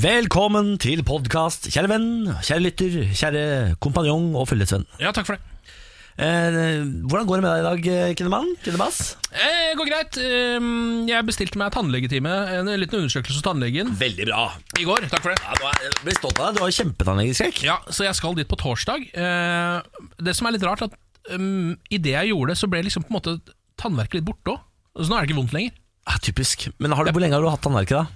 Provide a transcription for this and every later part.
Velkommen til podkast, kjære venn, kjære lytter, kjære kompanjong og følgesvenn. Ja, takk for det. Eh, hvordan går det med deg i dag, eh, Kinnemann? Kinnebass? Eh, går greit. Ehm, Jeg bestilte meg tannlegetime, en liten undersøkelse hos tannlegen, Veldig bra. i går. Takk for det. Ja, du er, jeg blir stolt av deg. Du har kjempetannlegeskrekk. Ja, Så jeg skal dit på torsdag. Eh, Det som er litt rart, at um, idet jeg gjorde det, så ble liksom på en måte tannverket litt borte òg. Så nå er det ikke vondt lenger. Ja, typisk. Men har du, hvor lenge har du hatt tannverket, da?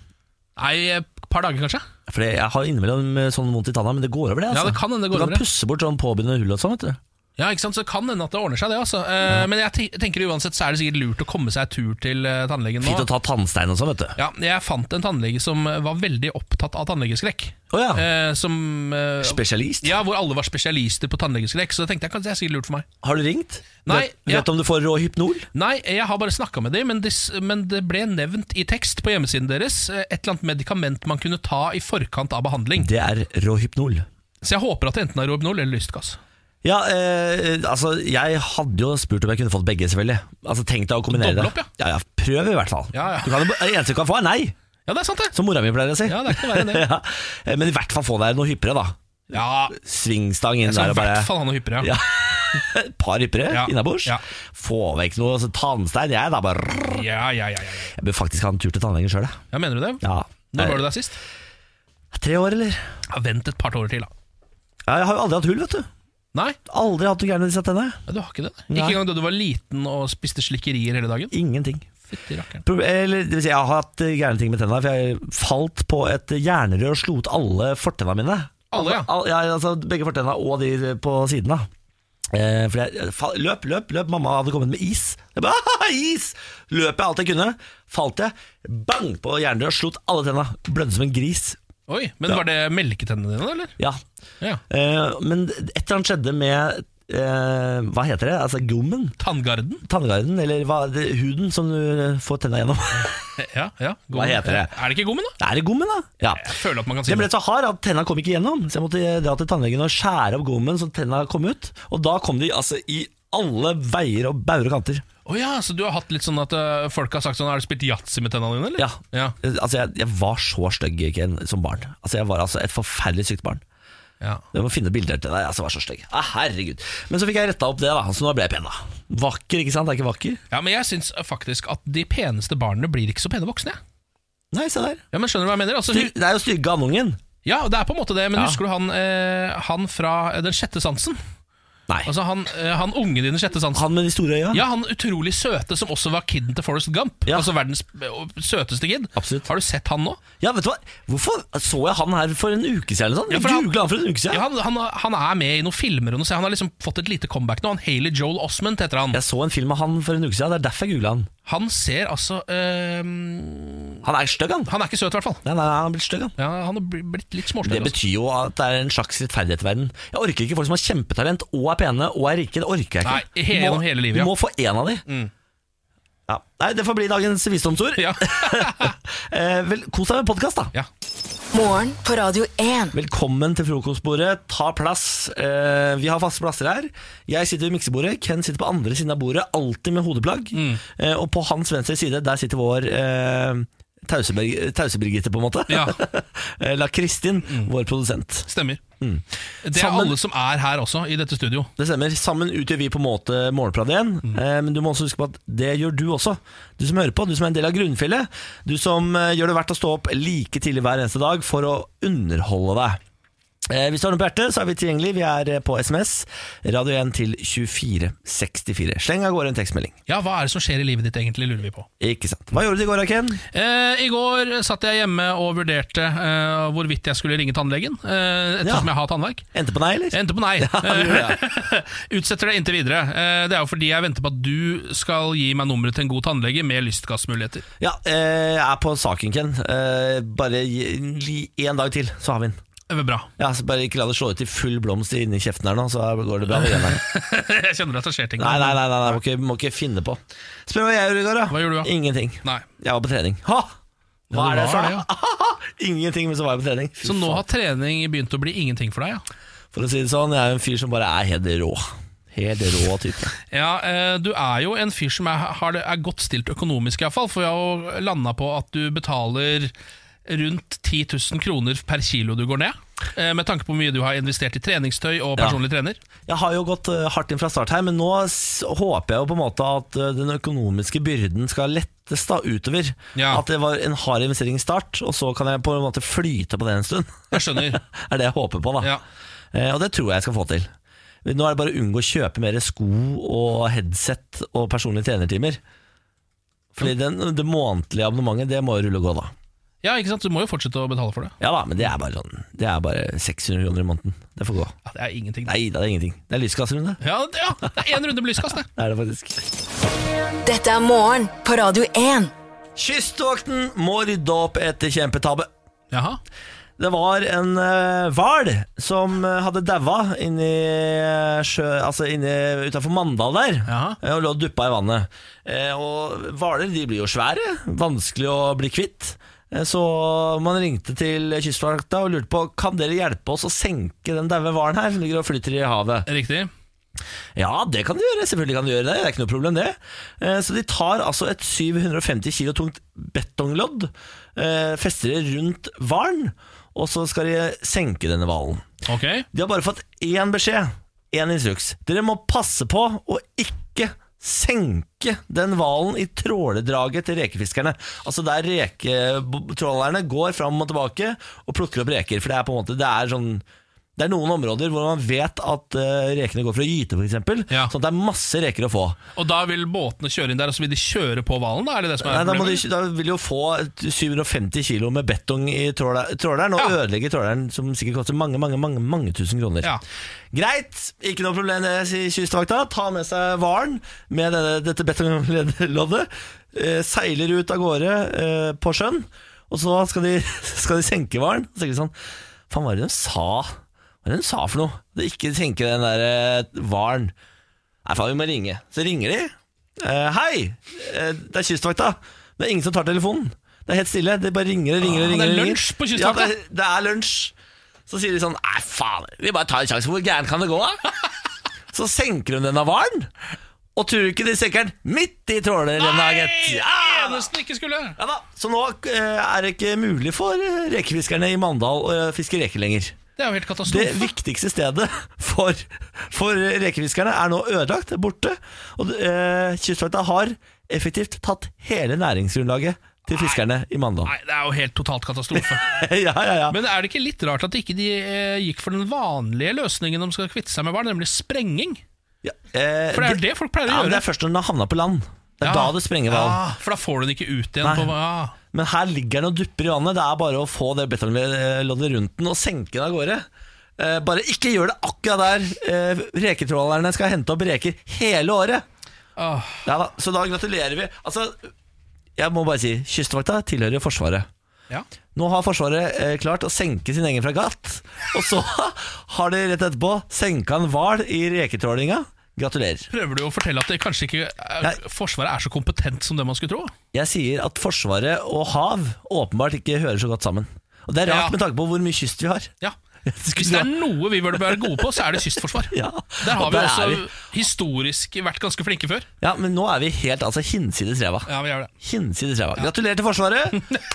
Nei, eh, et par dager kanskje. Fordi jeg har innimellom eh, sånn vondt i tanna, men det går over, det. Ja, altså det kan hende det går Du over, ja. kan pusse bort sånn påbegynnende hull og sånn, vet du. Ja, ikke sant, Så det kan hende at det ordner seg, det. altså Eh, Men jeg te- tenker uansett så er det sikkert lurt å komme seg tur til eh, tannlegen Fint å nå. ta tannstein og sånn, vet du. Ja, Jeg fant en tannlege som eh, var veldig opptatt av tannlegeskrekk. Å ja. Eh, Som eh, Spesialist. Ja, hvor alle var spesialister på tannlegeskrekk. Så da tenkte jeg kanskje det er sikkert lurt for meg. Har du ringt? Nei, vet, ja. vet du om du får rå hypnol? Nei, jeg har bare snakka med dem, men, dis- men det ble nevnt i tekst på hjemmesiden deres eh, et eller annet medikament man kunne ta i forkant av behandling. Det er rå hypnol. Så jeg håper at det enten er Rohypnol eller lystgass. Ja, eh, altså Jeg hadde jo spurt om jeg kunne fått begge, selvfølgelig. Altså Tenk deg å kombinere Doble det. opp, ja. Ja, ja, Prøv, i hvert fall. Ja, ja. Du kan, jo- det eneste du kan få, er nei, Ja, det er sant, det! som mora mi pleier å si. Ja, det er ikke noe verre enn det. Ja, eh, Men i hvert fall få deg noe hyppigere, da. Ja, Svingstang inn så der og i hvert bare fall han og hyppigere. Ja. et par hyppigere Ja, innabords. ja. Få vekk noe altså, tannstein. Jeg da bare Ja, ja, ja, ja, ja. Jeg bør faktisk ha en tur til tannlegen sjøl, jeg. ja mener du det? Ja. Når var du der sist? Eh, Tre år, eller? Ja, vent et par år til, da. Ja, jeg har jo aldri hatt hull, vet du. Nei, Aldri hatt noe gærent i disse tennene. ja, du har ikke det. Nei. Ikke engang da du var liten og spiste slikkerier hele dagen? Ingenting. Fytti rakkeren. Pro- Eller, det vil si, jeg har hatt eh, gærne ting med tennene, for jeg falt på et jernrør og slo ut alle fortennene mine. Alle, ja. Al- ja, altså, begge fortennene og de på siden av. Eh, for jeg fa- løp, løp, løp. Mamma hadde kommet med is. Jeg bare, «Ah, is! Løp jeg alt jeg kunne. Falt jeg. Bang! På jernrør, slo ut alle tennene. Blødde som en gris. Oi, men var det melketennene dine, eller? Ja. Ja. Eh, men et eller annet skjedde med eh, Hva heter det? Altså gommen? Tanngarden? Tanngarden? Eller hva, det, huden som du eh, får tennene gjennom? Ja, ja. Gommen. heter det? Er det ikke gommen, da? er det gommen, da? Ja. Jeg føler at man kan si Den ble det. så hard at tenna kom ikke gjennom, så jeg måtte dra til tannlegen og skjære opp gommen så tenna kom ut. Og da kom de altså i alle veier og bauger og kanter. Å ja, så du har hatt litt sånn at ø, folk har sagt sånn Har du spilt yatzy med tennene dine, eller? Ja. Altså, jeg, jeg var så stygg Ken, som barn. Altså, jeg var altså et forferdelig sykt barn. Ja. Jeg må finne bilder til deg. Altså, jeg var så stygg. Ah, herregud. Men så fikk jeg retta opp det, da. Så nå ble jeg pen, da. Vakker, ikke sant? Er jeg ikke vakker? ja, men jeg syns faktisk at de peneste barna blir ikke så pene voksne, jeg. Nei, se der. Ja, men skjønner du hva jeg mener? Altså, Ty- hu- Det er jo stygge andungen. ja, det er på en måte det, Ja. men husker du han, ø, han fra ø, Den sjette sansen? Nei. Altså han, ø, han ungen i Den sjette sansen. Han med de store øya? Ja, han utrolig søte som også var kiden til Forrest Gump. Ja. Altså verdens ø, søteste kid. Absolutt. Har du sett han nå? Ja, vet du hva? Hvorfor så jeg han her for en uke siden? eller Sånn? Ja, Jeg for han- googlet han for en uke siden. Ja, han, han, han er med i noen filmer, og noe, så han har liksom fått et lite comeback nå. Han Haley Joel Osment heter han. Jeg så en film av han for en uke siden, det er derfor jeg googla han. Han ser altså øhm, Han er stygg, han. Han er ikke søt, i hvert fall. Nei, nei, nei, han er blitt stygg, han. Ja, han har bl- blitt litt Det småstygg. altså. betyr jo at det er en slags rettferdighet i verden. Jeg orker ikke folk som har kjempetalent og er pene og er rike. Det orker jeg ikke. Nei, he- Du må- gjennom hele livet, ja. Du må få én av de. Ja. Nei, det får bli dagens visdomsord. Ja. Eh, vel, kos deg med podkast, da. ja. Morgen på Radio 1. Velkommen til frokostbordet. Ta plass. Eh, vi har faste plasser her. Jeg sitter ved miksebordet. Ken sitter på andre siden av bordet, alltid med hodeplagg. Eh, og på hans venstre side, der sitter vår eh, Tause-Birgitte, på en måte. Ja. Eller Kristin, vår produsent. Stemmer. Det er Mm. Sammen- alle som er her også, i dette studio. Det stemmer. Sammen utgjør vi på en måte Morgenprat 1. Eh, men du må også huske på at det gjør du også. Du som hører på, du som er en del av grunnfjellet. Du som eh, gjør det verdt å stå opp like tidlig hver eneste dag for å underholde deg. Eh, hvis du har noe på hjertet, så er vi tilgjengelig. Vi er eh, på SMS, radio 1 til 2464. Sleng av gårde en tekstmelding. Ja, Hva er det som skjer i livet ditt, egentlig, lurer vi på. Ikke sant. Hva gjorde du i går, Ken? Eh, I går satt jeg hjemme og vurderte eh, hvorvidt jeg skulle ringe tannlegen, eh, ettersom Ja. jeg har tannverk. Endte på nei, eller? Jeg endte på nei. det gjorde Utsetter det inntil videre. Eh, Det er jo fordi jeg venter på at du skal gi meg nummeret til en god tannlege med lystgassmuligheter. Ja, eh, jeg er på saken, Ken. Eh, bare én dag til, så har vi den. Det blir Eh, bra. Ja, så bare ikke la det slå ut i full blomst inni kjeften her nå, så går det bra. med greiene her. jeg kjenner at det skjer ting. Nei, nei, nei, nei, nei. Må, ikke, må ikke finne på. Spør hva jeg gjorde i går, da. Hva gjorde du, da? Ingenting. Nei. Jeg var på trening. Ha! Hva Ja, er du det var jeg sa? Ingenting, men så var jeg på trening. Fy Så nå faen. har trening begynt å bli ingenting for deg, ja. For å si det sånn, jeg er jo en fyr som bare er helt rå. Helt rå type. ja eh, du er jo en fyr som er, har det, er godt stilt økonomisk, iallfall. For jeg har jo landa på at du betaler rundt 10 000 kroner per kilo du går ned. eh, Med tanke på hvor mye du har investert i treningstøy og personlig trener. Jeg har jo gått eh, hardt inn fra start her, men nå s- håper jeg jo på en måte at eh, den økonomiske byrden skal lettes da utover. Ja. At det var en hard investering i start, og så kan jeg på en måte flyte på det en stund. Jeg skjønner. er det jeg håper på, da. Ja. Eh, Og det tror jeg jeg skal få til. Nå er det bare å unngå å kjøpe mer sko og headset og personlige trenertimer. Fordi den, det månedlige abonnementet, det må jo rulle og gå, da. Ja, ikke sant? Du må jo fortsette å betale for det. Ja da, men det er bare sånn Det er bare 600 kroner i måneden. Det får gå. Ja, det er ingenting. Nei da, det er ingenting. Det er lyskasserunde. Ja, det- ja, det er én runde med lyskast, det. Det er det faktisk. Dette er morgen på Radio 1. Kystvakten må rydde opp etter kjempetabbe. Jaha. Det var en eh, hval som eh, hadde daua inni eh, sjø... Altså inni utafor Mandal der. Jaha. eh, Og lå og duppa i vannet. Eh, og hvaler de blir jo svære. Vanskelig å bli kvitt. Eh, Så man ringte til Kystvakta og lurte på Kan dere hjelpe oss å senke den daue hvalen her som ligger og flyter i havet. Riktig. Ja, det kan de gjøre. Selvfølgelig kan de gjøre det. Det er ikke noe problem, det. Eh, Så de tar altså et 750 kilo tungt betonglodd, eh, fester det rundt hvalen, og så skal de senke denne hvalen. Ok. De har bare fått én beskjed, én instruks. Dere må passe på å ikke senke den hvalen i tråledraget til rekefiskerne. Altså der reketrålerne går fram og tilbake og plukker opp reker. For det er på en måte Det er sånn det er noen områder hvor man vet at eh, rekene går for å gyte, f.eks. Ja. Sånn at det er masse reker å få. Og da vil båtene kjøre inn der, og så vil de kjøre på hvalen? Da er det det som er Nei, da, må de, problemet? da vil de jo få 750 kilo med betong i tråler- tråleren, og Ja. ødelegge tråleren, som sikkert koster mange, mange, mange, mange tusen kroner. Ja. Greit, ikke noe problem det, sier kystvakta. Ta med seg hvalen med denne, dette betongloddet. Eh, seiler ut av gårde eh, på sjøen, og så skal de, skal de senke hvalen. Så tenker de sånn Faen, hva er det de sa? Hva er det de sa for noe? Det ikke senke den der eh, hvalen. Nei, faen, vi må ringe. Så ringer de. Eh, hei, eh, det er kystvakta. Det er ingen som tar telefonen. Det er helt stille. De bare ringer og ringer. og Ah, det ringer er og ringer. lunsj på Kystvakta. Ja, det, er- det er lunsj. Så sier de sånn Nei, faen, vi bare tar en sjanse. Hvor gærent kan det gå, da? Så senker hun den av hvalen. Og tror du ikke de senker den midt i trålerrenna, gitt? Nei! Ja, da. Eneste den ikke skulle! Ah! ja da. Så nå eh, er det ikke mulig for eh, rekefiskerne i Mandal å eh, fiske reker lenger. Det er jo helt Det katastrofe. viktigste stedet for, for rekefiskerne er nå ødelagt, borte. Og eh, Kystvakta har effektivt tatt hele næringsgrunnlaget til fiskerne i Mandal. Nei, det er jo helt totalt katastrofe. ja, ja, ja. Men er det ikke litt rart at ikke de eh, gikk for den vanlige løsningen de skal kvitte seg med barn, nemlig sprenging? ja eh, For det er jo det folk pleier å Ja, men det gjøre. er først når den har havna på land. Det er Ja. da det sprenger hvalen. Ja, for da får du den ikke ut igjen. Nei. På, ja. Men her ligger den og dupper i vannet. Det er bare å få det betongloddet rundt den og senke den av gårde. Eh, bare ikke gjør det akkurat der eh, reketrålerne skal hente opp reker hele året. Åh. Ja da, så da gratulerer vi. Altså, jeg må bare si, Kystvakta tilhører jo Forsvaret. Ja. Nå har Forsvaret eh, klart å senke sin egen fregatt. Og så har de rett etterpå senka en hval i reketrålinga. Gratulerer. Prøver du å fortelle at det kanskje ikke er, Nei. Forsvaret er så kompetent som det man skulle tro? Jeg sier at Forsvaret og hav åpenbart ikke hører så godt sammen. Og det er rart Ja. med tanke på hvor mye kyst vi har. Ja. Det Hvis skulle det er vært- noe vi burde være gode på, så er det kystforsvar. Ja, Der har og vi der også er vi. historisk vært ganske flinke før. ja, men nå er vi helt altså hinsides ræva. Ja, vi gjør det. Hinsides ræva. Gratulerer til Forsvaret!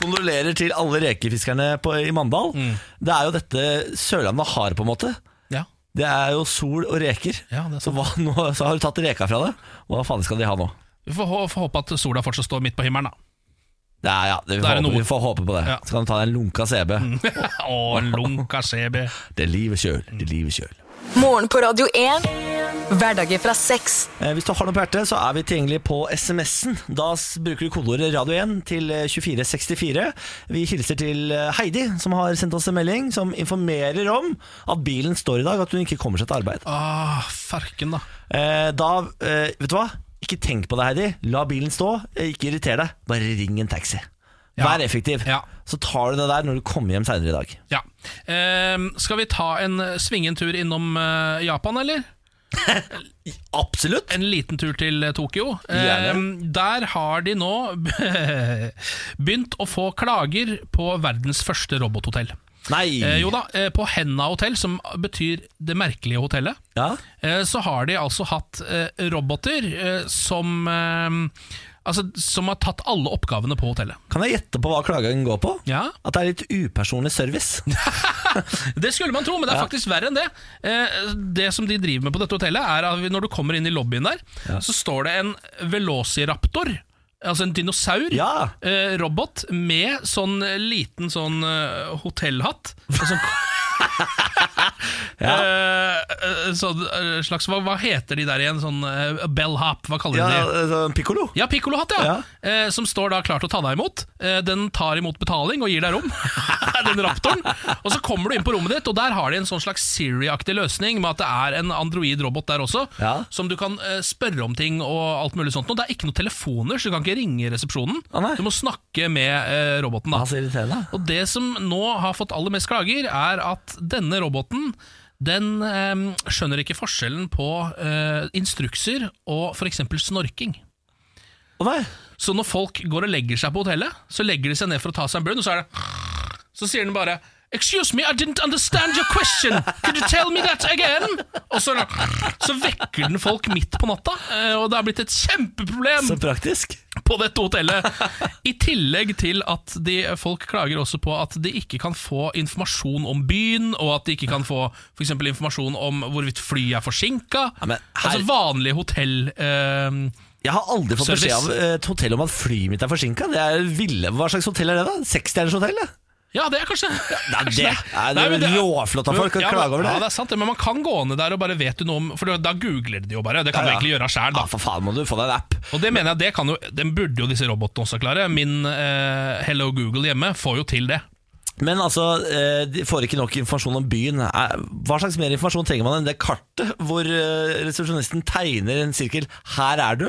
Kondolerer til alle rekefiskerne på, i Mandal. Mm. Det er jo dette Sørlandet har, på en måte. Ja. Det er jo sol og reker. Ja, det er så, hva, nå, så har du tatt reka fra det. Hva faen skal de ha nå? Vi får, hå- får håpe at sola fortsatt står midt på himmelen, da. Det er, ja, det, vi, Da får er det håpe, noe. vi får håpe på det. Ja. Mm. Så kan du ta deg en lunka CB. Å, lunka CB. Det er livet sjøl. Det er livet sjøl. Morgen på Radio 1. Hverdager fra seks. Eh, Hvis du har noe på hjertet, så er vi tilgjengelig på SMS-en. Da s- bruker du kodeordet Radio 1 til eh, 2464. Vi hilser til eh, Heidi, som har sendt oss en melding som informerer om at bilen står i dag, at hun ikke kommer seg til arbeid. Ah, farken, da. Eh, Da, eh, vet du hva? Ikke tenk på det, Heidi. La bilen stå. Eh, Ikke irriter deg. Bare ring en taxi. Ja. Vær effektiv. Ja. Så tar du det der når du kommer hjem seinere i dag. Ja. Ehm, skal vi ta en eh, svinge en tur innom eh, Japan, eller? Absolutt. En liten tur til eh, Tokyo. Gjerne. Ehm, der har de nå begynt å få klager på verdens første robothotell. Nei. Eh, jo da, eh, på Henna hotell, som betyr det merkelige hotellet, Ja. eh, så har de altså hatt eh, roboter eh, som eh, Altså, som har tatt alle oppgavene på hotellet. Kan jeg gjette på hva klagen går på? Ja. At det er litt upersonlig service. Det skulle man tro, men det er faktisk verre enn det. Eh, Det som de driver med på dette hotellet, er at når du kommer inn i lobbyen der, så står det en velociraptor, altså en dinosaur, Ja. eh, robot, med sånn liten sånn eh, hotellhatt. og Sånn, Eh, eh, sånn eh, slags hva, hva heter de der igjen? Sånn eh, bellhop, hva kaller de Ja, det? eh, Piccolo. Ja, pikkolohatt, ja. Eh, som står da klar til å ta deg imot. Eh, den tar imot betaling og gir deg rom. den raptoren. Og så kommer du inn på rommet ditt, og der har de en sånn slags Siri-aktig løsning med at det er en android-robot der også, Ja. som du kan eh, spørre om ting og alt mulig sånt. Og det er ikke noen telefoner, så du kan ikke ringe resepsjonen. Å, nei. du må snakke med eh, roboten, da. Han ser irriterende. Og det som nå har fått aller mest klager, er at denne roboten den eh, skjønner ikke forskjellen på eh, instrukser og f.eks. snorking. Å nei. Så når folk går og legger seg på hotellet, så legger de seg ned for å ta seg en brun, og så er det Så sier den bare Excuse me, I didn't understand your question. Could you tell me that again? Og så, er det- så vekker den folk midt på natta, eh, og det har blitt et kjempeproblem Så praktisk. på dette hotellet. I tillegg til at de, folk klager også på at de ikke kan få informasjon om byen, og at de ikke kan få for eksempel informasjon om hvorvidt flyet er forsinka. Ja, men her- Altså vanlig hotell... Eh, Jeg har aldri fått Service. beskjed av eh, et hotell om at flyet mitt er forsinka. Det er ville. Hva slags hotell er det, da? Sekstjerners hotell? det? ja, det er kanskje Nei, kanskje det Nei, det Nei, er men det er- råflott av folk å Ja, men- klage over det. Ja, det er sant, det, men man kan gå ned der og bare vet du noe om For da googler de jo bare. Det kan Ja, ja. du egentlig gjøre sjæl, Ja, da. Ah, for faen må du få deg en app. Og det mener jeg, det kan jo Den burde jo disse robotene også klare. Min eh, Hello Google hjemme får jo til det. Men altså, eh, de får ikke nok informasjon om byen. Er- Hva slags mer informasjon trenger man enn det kartet hvor eh, resepsjonisten tegner en sirkel? Her er du,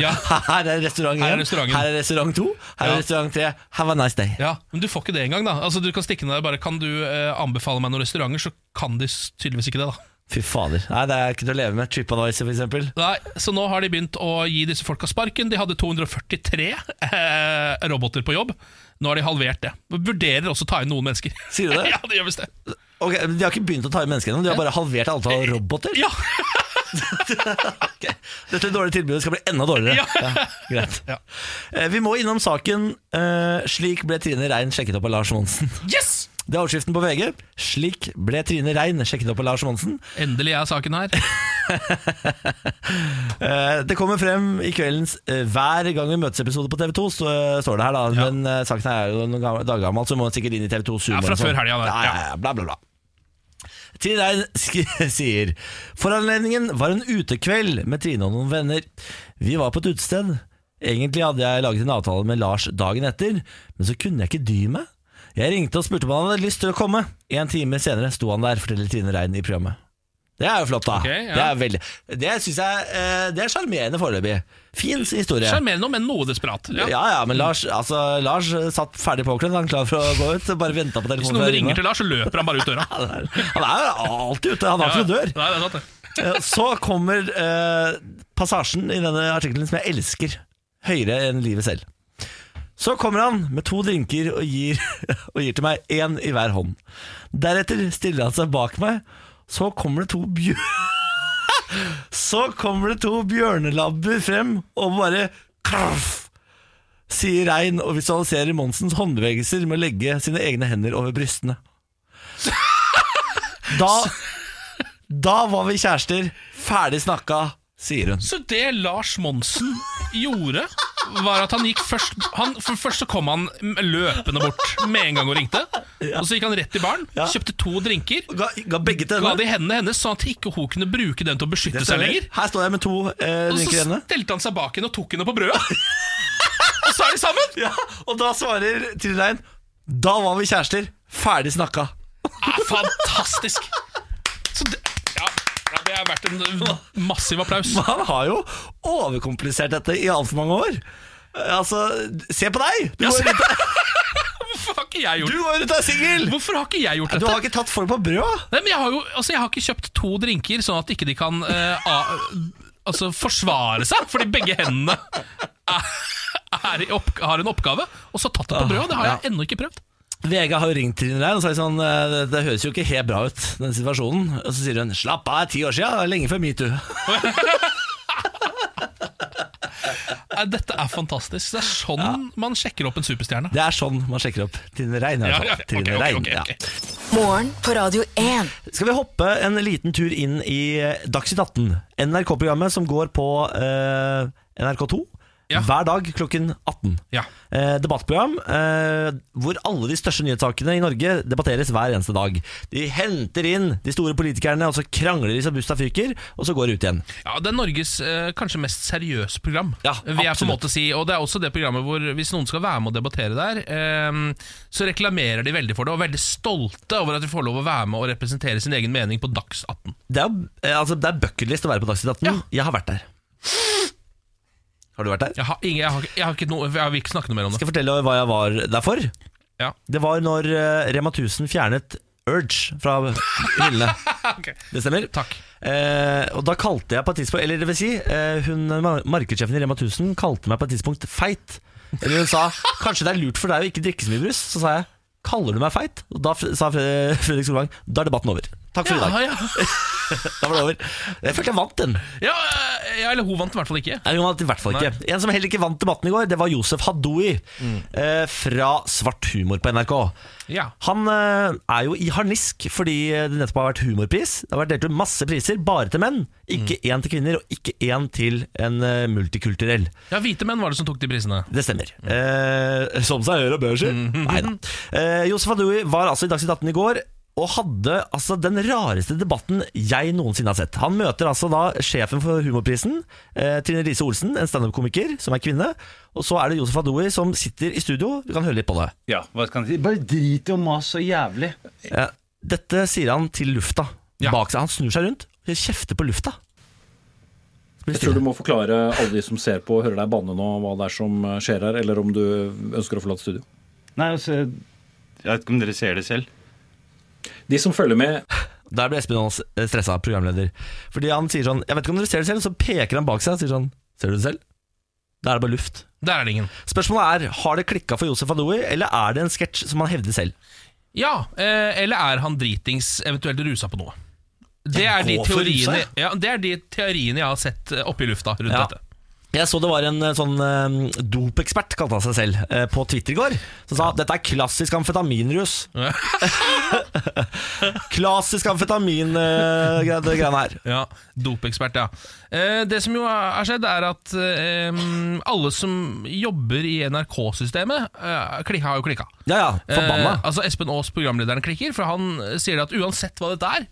Ja. her er restaurant Her 1, er restauranten. her er restaurant 2, her Ja. er restaurant 3. Have a nice day. Ja, Men du får ikke det engang, da. Altså Du kan stikke ned der bare Kan du eh, anbefale meg noen restauranter, så kan de s- tydeligvis ikke det, da. Fy fader. Nei, det er ikke til å leve med. TripAdvisor, for eksempel. Nei, Så nå har de begynt å gi disse folka sparken. De hadde 243 eh, roboter på jobb. Nå har de halvert det. Vurderer også å ta inn noen mennesker. Sier du det? ja, det gjør visst det. Ok, men De har ikke begynt å ta inn mennesker ennå, de har bare halvert antall Eh, roboter. Ja, Ok. Dette dårlige tilbudet skal bli enda dårligere. Ja. greit. Ja. Eh, Vi må innom saken eh, 'Slik ble Trine Rein sjekket opp av Lars Monsen'. yes! Det er overskriften på VG. 'Slik ble Trine Rein sjekket opp av Lars Monsen'. Endelig er saken her. Eh, Det kommer frem i kveldens eh, Hver gang vi møtes episode på TV 2, så, eh, står det her, da. Ja. Men eh, saken er jo noen gamle- dager gammel, så må den sikkert inn i TV 2 Sumo. Ja, fra eller sånn. før helgen, det. Ja, ja, ja, bla, bla, bla. Trine Rein sk- sier Foranledningen var en utekveld med Trine og noen venner. Vi var på et utested. Egentlig hadde jeg laget en avtale med Lars dagen etter, men så kunne jeg ikke dy meg. Jeg ringte og spurte om han hadde lyst til å komme. En time senere sto han der, forteller Trine Rein i programmet. Det er jo flott, da. Ok, ja. Det er veldig Det synes jeg eh, Det er sjarmerende foreløpig. Fin historie. Sjarmerende, men noe desperat. Ja. ja, men Lars, altså, Lars eh, satt ferdig påkledd, han klar for å gå ut. Bare venta på Hvis telefonen. noen fra Rine. ringer til Lars, så løper han bare ut døra. Han er- Han er jo alltid ute, han har ikke noen dør. Nei, det er sant, det. Eh, Så kommer eh, passasjen i denne artikkelen som jeg elsker høyere enn livet selv. Så kommer han med to drinker og gir, og gir til meg én i hver hånd. Deretter stiller han seg bak meg. Så kommer det to bjør... Så kommer det to bjørnelabber frem og bare kraff, sier Rein og visualiserer Monsens håndbevegelser med å legge sine egne hender over brystene. Da da var vi kjærester, ferdig snakka, sier hun. Så det Lars Monsen gjorde, var at han gikk først han, For først så kom han løpende bort med en gang og ringte. Og så gikk han rett i baren, Ja. kjøpte to drinker. Ga, ga begge til Ga henne. de hendene hennes, sånn at ikke hun kunne bruke den til å beskytte seg lenger. Her står jeg med to eh, Og så drinker i henne. stelte han seg bak henne og tok henne på brødet. Og så er de sammen! Ja, og da svarer Trine Rein Da var vi kjærester, ferdig snakka. er fantastisk. Så det, ja, ja, det er verdt en massiv applaus. Men Han har jo overkomplisert dette i altfor mange år. Eh, Altså, se på deg! Du Ja, går se- rundt Hvorfor har ikke jeg gjort du går rundt og er singel! Hvorfor har ikke jeg gjort Du dette? har ikke tatt folk på brød! Nei, men jeg, har jo, altså, jeg har ikke kjøpt to drinker sånn at ikke de kan eh, a, altså, forsvare seg, fordi begge hendene er, er i opp, har en oppgave. Og så tatt det på brødet. Det har jeg ennå ikke prøvd. VG har jo ringt Trine Rein og sagt sånn eh, Det, det høres jo ikke helt bra ut, den situasjonen. Og så sier hun slapp av, det er ti år sia, lenge før metoo. Nei, Dette er fantastisk. Det er sånn man sjekker opp en superstjerne. Det er sånn man sjekker opp Trine Rein. i hvert fall. Ja, ja, ok, Trine ok, Rein, ok, ja. ok. Morgen på Radio 1. Skal vi hoppe en liten tur inn i Dagsnytt 18? NRK-programmet som går på eh, NRK2 Ja. hver dag klokken 18. Ja. Eh, debattprogram eh, hvor alle de største nyhetssakene i Norge debatteres hver eneste dag. De henter inn de store politikerne, og så krangler de så busta fyker, og så går de ut igjen. Ja, Det er Norges eh, kanskje mest seriøse program. Ja, vil jeg på en absolutt. måte si Og det er også det programmet hvor hvis noen skal være med og debattere der, eh, så reklamerer de veldig for det, og er veldig stolte over at de får lov å være med og representere sin egen mening på Dags 18. Det er, jo- eh, altså, det er bucketlist å være på Dagsnytt 18. Ja. Jeg har vært der. Har du vært der? Jeg har, ingen, jeg har, ikke- jeg har, ikke noe, jeg vil ikke snakke noe mer om det. Skal jeg fortelle hva jeg var der for? Ja. Det var når eh, Rema 1000 fjernet Urge fra hyllene. Det stemmer. Takk. Eh, og da kalte jeg på et tidspunkt Eller det vil si, eh, hun, ma- markedssjefen i Rema 1000 kalte meg på et tidspunkt feit. Eller hun sa kanskje det er lurt for deg å ikke drikke så mye brus. Så sa jeg kaller du meg feit? Og da f- sa Fre- Fredrik Solvang da er debatten over. Takk for i dag. Ja, ja. Da var det over. Jeg følte jeg vant den. Ja, eh, ja, eller hun vant i hvert fall ikke. Nei, hun vant i hvert fall ikke. En som heller ikke vant debatten i går, det var Josef Hadoui eh, fra Svart humor på NRK. Ja. Han eh, er jo i harnisk fordi det nettopp har vært humorpris. Det har vært delt ut masse priser, bare til menn. Ikke én til kvinner, og ikke én til en eh, multikulturell. ja, Hvite menn var det som tok de prisene. Det stemmer. Eh, som seg gjør og bør seg. Mhm. Nei da. Eh, Josef Adoui var altså i Dagsnytt 18 i går. Og hadde altså den rareste debatten jeg noensinne har sett. Han møter altså da sjefen for Humorprisen, eh, Trine Lise Olsen, en standup-komiker som er kvinne. Og så er det Josef Adoui som sitter i studio. Vi kan høre litt på det. Ja, hva kan jeg si? Bare drit i å mase så jævlig. Ja, dette sier han til lufta Ja. bak seg. Han snur seg rundt og kjefter på lufta. Så blir det Jeg tror du stille. må forklare alle de som ser på og hører deg banne nå, hva det er som eh, skjer her, eller om du eh, ønsker å forlate studio. Nei, altså Jeg vet ikke om dere ser det selv. De som følger med, Der ble Espen Aas stressa, programleder. Fordi han sier sånn Jeg vet ikke om dere ser det selv, så peker han bak seg og sier sånn Ser du det selv? Da er det bare luft. Der er det ingen. Spørsmålet er har det klikka for Josef Adoui, eller er det en sketsj som han hevder selv? Ja, eh, eller er han dritings, eventuelt rusa på noe? Det er, de Gå for teoriene, rusa, ja, det er de teoriene jeg har sett eh, oppe i lufta rundt Ja. dette. Jeg så det var en eh, sånn eh, dopekspert, kalte han seg selv, eh, på Twitter i går, som sa dette er klassisk amfetaminrus. klassisk eh, amfetamin-greiene her. Ja, Dopekspert, ja. Eh, det som jo har skjedd, er at eh, alle som jobber i NRK-systemet, eh, kli- har jo klikka. Ja ja, forbanna. Eh, altså Espen Aas, programlederen, klikker, for han eh, sier at uansett hva dette er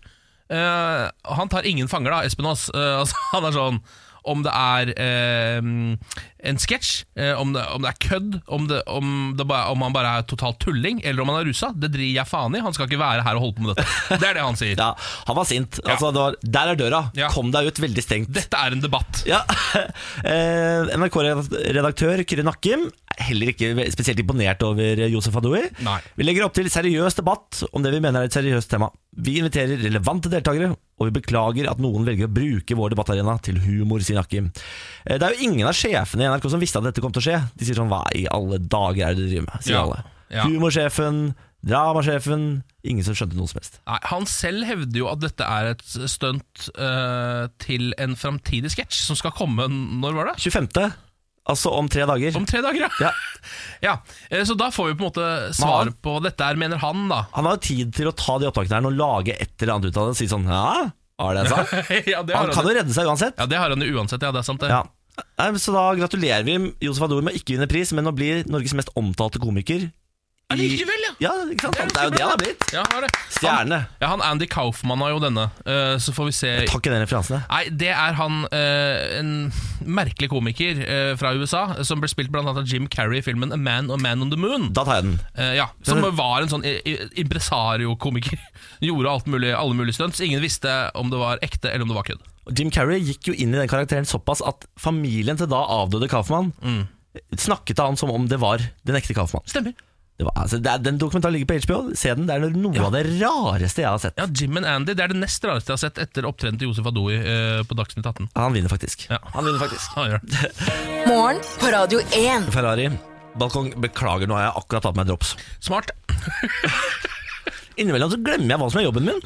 eh, Han tar ingen fanger, da, Espen Aas. Eh, altså, han er sånn om det er eh, en sketsj, eh, om, det- om det er kødd, om, det, om, det bare, om han bare er totalt tulling, eller om han er rusa, det driter jeg faen i. Han skal ikke være her og holde på med dette. Det er det han sier. Ja, han var sint. Altså, det var, der er døra. Ja. Kom deg ut. Veldig stengt. Dette er en debatt. Ja. Eh, NRK-redaktør Kyrre Nakkim heller ikke spesielt imponert over Josef Adoui. Nei. Vi legger opp til seriøs debatt om det vi mener er et seriøst tema. Vi inviterer relevante deltakere, og vi beklager at noen velger å bruke vår debattarena til humor, sier Nakkim. Eh, det er jo ingen av sjefene i NRK som visste at dette kom til å skje. De sier sånn Hva i alle dager er det dere driver med? sier Ja. alle. Ja. Humorsjefen, dramasjefen Ingen som skjønte noe som helst. Nei, Han selv hevder jo at dette er et stunt eh, til en framtidig sketsj som skal komme Når var det? 25., altså om tre dager. Om tre dager, ja. Ja. Ja, eh, så da får vi på en måte Men svar han- på dette her, mener han da. Han har jo tid til å ta de opptakene her og lage et eller annet ut av det og si sånn Ja, var det jeg sa? ja, det har Han kan han, jo redde seg uansett. ja, det har han jo uansett, ja, det er sant det. Ja. Nei, men Så da gratulerer vi Josef Adour med å ikke vinne pris, men å bli Norges mest omtalte komiker. Allikevel, ja. Ja, ikke sant? Det er jo det han har blitt. Ja, har det. Han, Stjerne. ja, han Andy Kaufman har jo denne, eh, så får vi se. Takk i den referansen. jeg. Nei, det er han, eh, en merkelig komiker eh, fra USA, som ble spilt blant annet av Jim Carrey i filmen A Man og Man on the Moon. Da tar jeg den. Eh, ja, som var en sånn i- i- impresario-komiker. Gjorde alt mulig, alle mulige stunts. Ingen visste om det var ekte eller om det var kødd. Og Jim Carrey gikk jo inn i den karakteren såpass at familien til da avdøde Kaufmann snakket til han som om det var den ekte Kaufmann. Mm. Stemmer. Det var, altså, det er, den dokumentaren ligger på HBO. Se den. Det er noe av det rareste jeg har sett. Ja, Jim and Andy det er det nest rareste jeg har sett etter opptredenen til Josef Adoui eh, på Dagsnytt 18. Han vinner faktisk. Ja. Han vinner faktisk. Han gjør det. Morgen på Radio 1. Ferrari. Balkong, beklager, nå har jeg akkurat tatt på meg drops. Smart. Innimellom så glemmer jeg hva som er jobben min.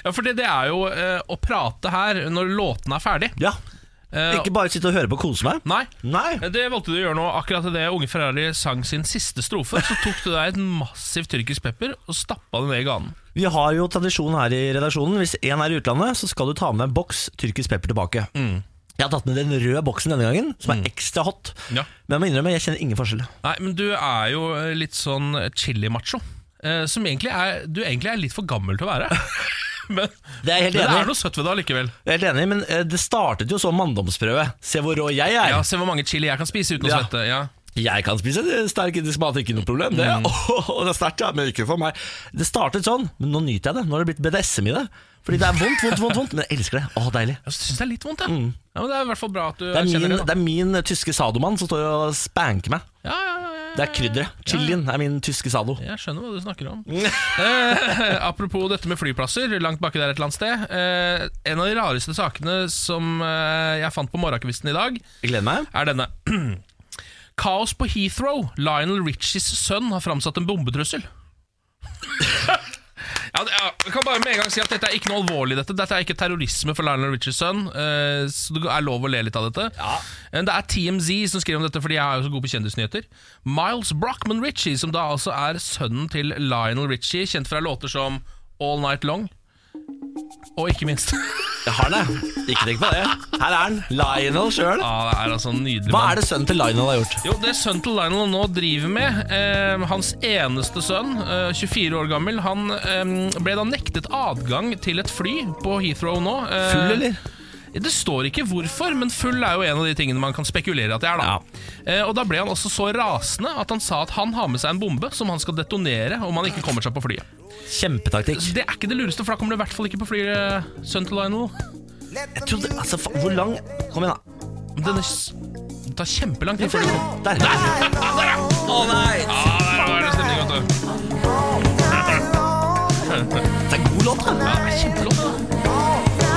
Ja, for det, det er jo eh, å prate her når låten er ferdig. Ja, Eh, Ikke bare sitte og høre på og kose meg. Nei. Nei. Det valgte du å gjøre nå. Akkurat idet Unge Ferrari sang sin siste strofe, så tok du deg et massivt tyrkisk pepper og stappa det ned i ganen. Vi har jo tradisjon her i redaksjonen. Hvis én er i utlandet, så skal du ta med en boks tyrkisk pepper tilbake. Mm. Jeg har tatt med den røde boksen denne gangen, som er ekstra hot. Ja. Men jeg må innrømme, jeg kjenner ingen forskjell. Nei, men du er jo litt sånn chili-macho. eh, Som egentlig er Du egentlig er litt for gammel til å være. Men, Det er jeg helt men det enig er i. noe søtt ved det allikevel. Jeg er helt enig, men eh, det startet jo som manndomsprøve. Se hvor rå jeg er. Ja, Se hvor mange chili jeg kan spise uten Ja. å svette. Ja. Jeg kan spise sterk indisk mat, ikke noe problem. Det, Åh, det er sterkt, ja, men ikke for meg. Det startet sånn, men nå nyter jeg det. Nå har det blitt BDSM i det. Fordi det er vondt, vondt, vondt, vondt men jeg elsker det. Åh, deilig. Jeg syns det er litt vondt, jeg. Ja, men det er i hvert fall bra at du Mm. Det er min, kjenner det. det Da. er min tyske sadomann som står og spanker meg. Ja, ja, ja, ja, ja. Det er krydderet. Chilien er min tyske sado. Jeg skjønner hva du snakker om. eh, apropos dette med flyplasser, langt baki der et eller annet sted. Eh, en av de rareste sakene som eh, jeg fant på morgenkvisten i dag, Jeg gleder meg. er denne. Kaos på Heathrow. Lionel Richies sønn har framsatt en bombetrussel. ja, det- ja, jeg kan bare med en gang si at Dette er ikke noe alvorlig. Dette Dette er ikke terrorisme for Lionel Richies sønn. eh, Så det er lov å le litt av dette. Eh, Det er TMZ som skriver om dette, fordi jeg er jo så god på kjendisnyheter. Miles Brochman Richie, som da altså er sønnen til Lionel Richie, kjent fra låter som All Night Long. Og ikke minst Jeg har den, jeg. Ikke tenk på det. Her er den. Lionel sjøl. ah, Det er altså en nydelig Hva mann. er det sønnen til Lionel har gjort? Jo, det sønnen til Lionel nå driver med, eh, hans eneste sønn, eh, 24 år gammel, han eh, ble da nektet adgang til et fly på Heathrow nå. Eh, Full, eller? Det står ikke hvorfor, men full er jo en av de tingene man kan spekulere at det er. da eh, Og da ble han også så rasende at han sa at han har med seg en bombe som han skal detonere om han ikke kommer seg på flyet. Kjempetaktikk. Så Det er ikke det lureste, for da kommer du i hvert fall ikke på flyet, eh, sønnen til Lionel. Jeg trodde, altså, fa- Hvor lang Kom igjen, da. Men Den er s- det tar kjempelang tid før du kommer. Der. Å nei! Ah, der var det stemning, vet Det du. er god låt, da. Det er kjempelåt, da.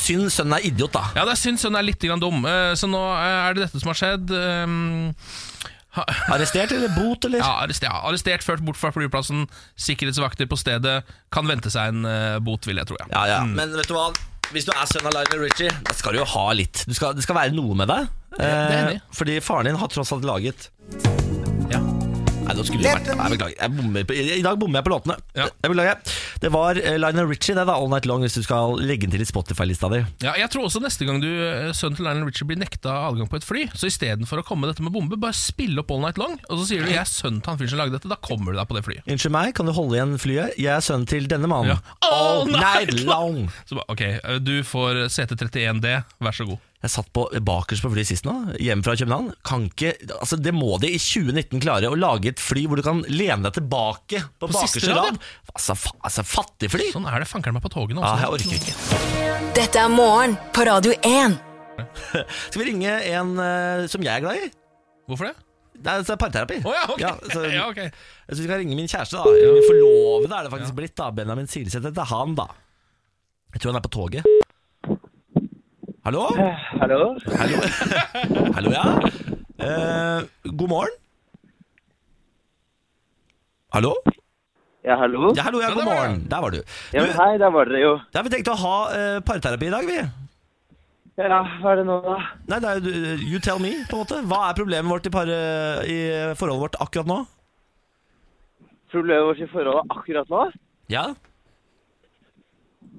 Synd sønnen er idiot, da. Ja, det er synd sønnen er litt grann dum, eh, så nå eh, er det dette som har skjedd. Um, Arrestert eller bot, eller? ja, arrestert, ja, arrestert, ført bort fra flyplassen, sikkerhetsvakter på stedet. Kan vente seg en eh, bot, vil jeg tro. Ja. Ja, ja. Men vet du hva? Hvis du er sønn av Lionel Richie, da skal du jo ha litt. Du skal, det skal være noe med deg. Eh, det er enig. fordi faren din har tross alt laget Ja. Nei, nå skulle det vært Nei, beklager. Jeg bommer på, I dag bommer jeg på låtene. Ja. Jeg beklager. Det var eh, Lionel Richie, det, da. All Night Long, hvis du skal legge den til i Spotify-lista di. jeg tror også neste gang du eh, sønnen til Lionel Richie blir nekta adgang på et fly, så istedenfor å komme med dette med bombe, bare spille opp All Night Long, og så sier du 'jeg er sønnen til han fyren som lagde dette', da kommer du deg på det flyet. Unnskyld meg, kan du holde igjen flyet? Jeg er sønnen til denne mannen. Ja. All Night long! Så ba, ok, eh, du får CT31D, vær så god. Jeg satt på bakerst på flyet sist nå, hjemme fra København. Kan ikke, altså det må de i 2019 klare, å lage et fly hvor du kan lene deg tilbake på, siste bakerste rad, rad. Altså, fa, altså fattigfly! Sånn er det fankeren meg på togene. Ja, jeg Altså. orker ikke. Dette er morgen på Radio 1. Skal vi ringe en eh, som jeg er glad i? Hvorfor det? Det er, det er parterapi. Å ja, ok. Ja, så, ja, ok. Jeg synes vi skal ringe min kjæreste, da. Eller min forlovede er det faktisk blitt, da. Benjamin Silseth heter han, da. Jeg tror han er på toget. Hallo? Hallo? Hallo, Hallo ja. Eh, god morgen. Hallo? Ja, hallo? Ja, hallo, ja, god der var morgen. Der var du. Ja, men du hei, der var dere jo. ja, vi tenkte å ha eh, parterapi i dag, vi. Ja, hva er det nå, da? Nei, det er jo eh, You tell me, på en måte. Hva er problemet vårt i, par, eh, i forholdet vårt akkurat nå? Problemet vårt i forholdet akkurat nå? Ja.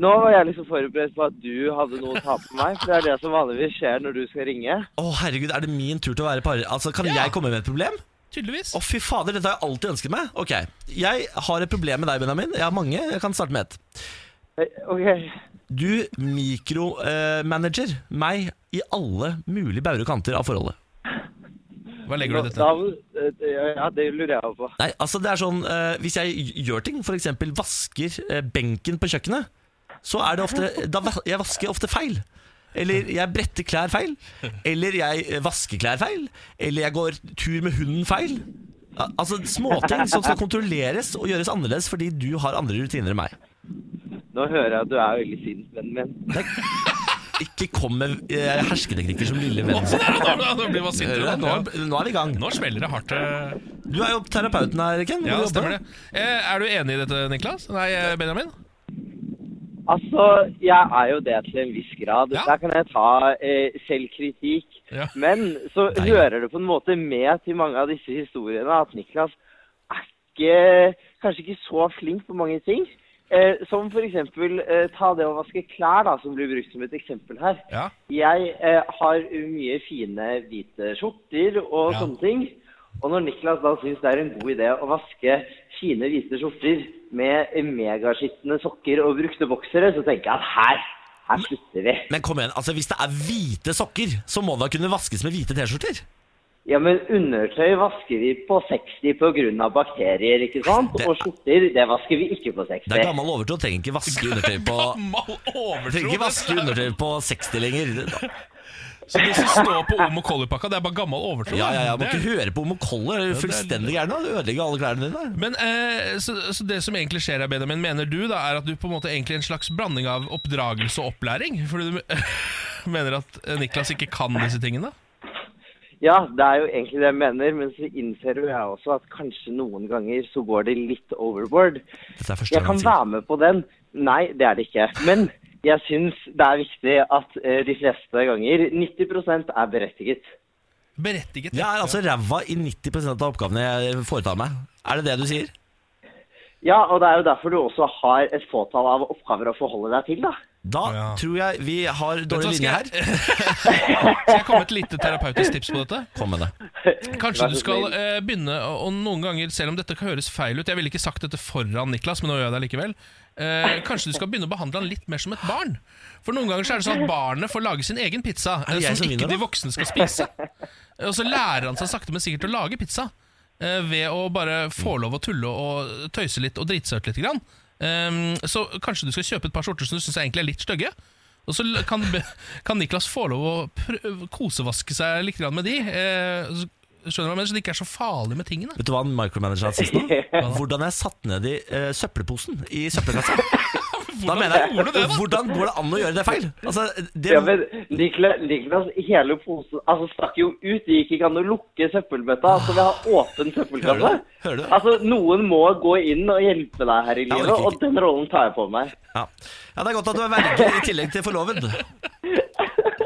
Nå var jeg liksom forberedt på at du hadde noe å ta på meg, for det er det som vanligvis skjer når du skal ringe. Å, herregud, er det min tur til å være par... Altså, kan jeg komme med et problem? Tydeligvis. Å, fy fader, dette har jeg alltid ønsket meg. Ok, jeg har et problem med deg, Benjamin. Jeg har mange. Jeg kan starte med et. Eh, Ok, Du mikromanager meg i alle mulige bauger og kanter av forholdet. Hva legger da, du i dette? da eh, Ja, det lurer jeg på. Nei, altså det er sånn eh, Hvis jeg gjør ting, f.eks. vasker eh, benken på kjøkkenet, så er det ofte da, va- Jeg vasker ofte feil. Eller jeg bretter klær feil. Eller jeg eh, vasker klær feil. Eller jeg går tur med hunden feil. Al- Altså Småting som skal kontrolleres og gjøres annerledes fordi du har andre rutiner enn meg. Nå hører jeg at du er veldig sint, vennen min. Ikke kom med eh, hersketeknikker som lille venn. Sånn Nå- nå- nå blir man sint, Hører du? Nå, ja. nå er vi i gang. Nå smeller det hardt. eh. Du er jo terapeuten her, Ken. Hvor Ja, du det jobber. stemmer det. Eh, Er du enig i dette, Niklas? Nei, eh, Benjamin? Altså, jeg er jo det til en viss grad. Ja. Der kan jeg ta eh, selvkritikk. Ja. Men så Nei. hører det på en måte med til mange av disse historiene at Niklas er ikke, kanskje ikke så flink på mange ting. Eh, som f.eks. Eh, ta det å vaske klær, da, som blir brukt som et eksempel her. Ja. Jeg eh, har mye fine hvite skjorter og Ja. sånne ting. Og når Niklas da syns det er en god idé å vaske fine hvite skjorter med megaskitne sokker og brukte boksere, så tenker jeg at her, her slutter vi. Men kom igjen, altså hvis det er hvite sokker, så må det da kunne vaskes med hvite T-skjorter? Ja, men undertøy vasker vi på 60 pga. bakterier, ikke sant? Det- Og skjorter, det vasker vi ikke på 60. Det er gammel overtro, trenger ikke vaske undertøy på Gammel Trenger overtro! ikke vaske undertøy på 60 lenger. Så de som står på Omo Collie-pakka, det er bare gammel overtro? Ja, ja, ja, Må Det er- ikke høre på Omokolle, er du det er- fullstendig gæren nå? Du Ødelegger alle klærne dine. Men eh, så, så det som egentlig skjer her, Benjamin, mener du da er at du på en måte egentlig er en slags blanding av oppdragelse og opplæring? Fordi du mener at eh, Niklas ikke kan disse tingene? Ja, det er jo egentlig det jeg mener, men så innser jo jeg også at kanskje noen ganger så går det litt overboard. Dette er første Jeg gang kan han sier være med på den. Nei, det er det ikke. Men jeg syns det er viktig at eh, de fleste ganger 90 er berettiget. Berettiget. Jeg er altså ræva i 90 av oppgavene jeg foretar meg. Er det det du sier? Ja, og det er jo derfor du også har et fåtall av oppgaver å forholde deg til, da. Da Ja. tror jeg vi har Vet du dårlig hva, linje her. skal jeg- Skal jeg komme med et lite terapeutisk tips på dette? Kom med det. Kanskje Vær du så skal snill. eh, begynne å, og noen ganger, selv om dette kan høres feil ut Jeg ville ikke sagt dette foran Niklas, men nå gjør jeg det likevel. Eh, kanskje du skal begynne å behandle han litt mer som et barn. For noen ganger så er det sånn at barnet får lage sin egen pizza, eh, det jeg som, som vinner, ikke de da? voksne skal spise. Eh, Og så lærer han seg sakte, men sikkert å lage pizza eh, ved å bare få lov å tulle og tøyse litt og drite seg ut litt. Grann. Eh, så kanskje du skal kjøpe et par skjorter som du syns egentlig er litt stygge. Og så l- kan, be- kan Niklas få lov å prø- kosevaske seg litt grann med de. Eh, så- skjønner du hva jeg mener? Så det ikke er så farlig med tingene. Vet du hva han micromanageren sist nå? Hvordan jeg satt ned i eh, søppelposen i søppelkassa. Da mener jeg, gjorde du det, da? Hvordan går det an å gjøre det feil? Altså, det, Ja, men Niklas, Niklas hele posen altså, stakk jo ut. Det gikk ikke an å lukke søppelbøtta. Altså, vi har åpen søppelkasse. Hører du? Hører du? Altså, noen må gå inn og hjelpe deg her i Jeg livet, orker og ikke. den rollen tar jeg på meg. Ja. ja, det er godt at du er verge i tillegg til forloved.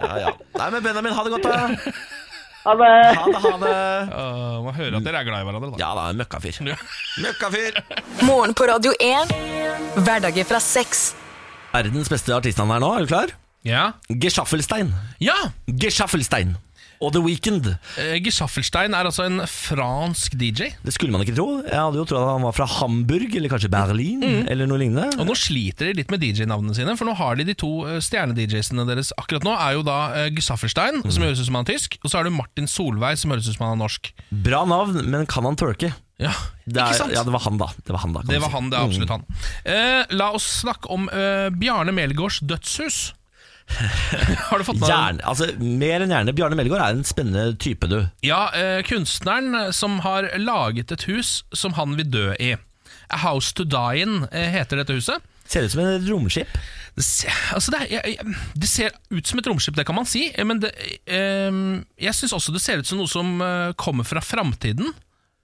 Ja, ja. Nei, men Benjamin, ha det godt, da. Ha det! Ha det, ha det. Eh, man hører at dere er glad i hverandre. Da. Ja da, en møkkafyr. Møkkafyr! Morgen på Radio 1. Hverdager fra seks. Verdens beste artistnavn her nå, er du klar? Ja. Geschaffelstein. ja. Geschaffelstein. Og The Weeknd. Eh, Gesaffelstein er altså en fransk DJ. Det skulle man ikke tro. Jeg hadde jo trodd at han var fra Hamburg, eller kanskje Berlin, Mm. eller noe lignende. Og nå sliter de litt med DJ-navnene sine, for nå har de de to eh, stjerne-DJ-ene deres akkurat nå, er jo da eh, Gesaffelstein, som høres ut som han er tysk, og så har du Martin Solveig, som høres ut som han er norsk. Bra navn, men kan han twerke? Ja, Det er- ikke sant? Ja, det var han, da. Det var han, da kan det du var si. han, det er absolutt han. Eh, la oss snakke om eh, Bjarne Melgaards dødshus. har du fått med deg Gjerne, altså, mer enn gjerne. Bjarne Melgaard er en spennende type, du. Ja, eh, kunstneren som har laget et hus som han vil dø i. A House to Die In eh, heter dette huset. Ser ut som et romskip. Det ser, altså det, er, jeg, jeg, det ser ut som et romskip, det kan man si, eh, men det, eh, jeg syns også det ser ut som noe som eh, kommer fra framtiden.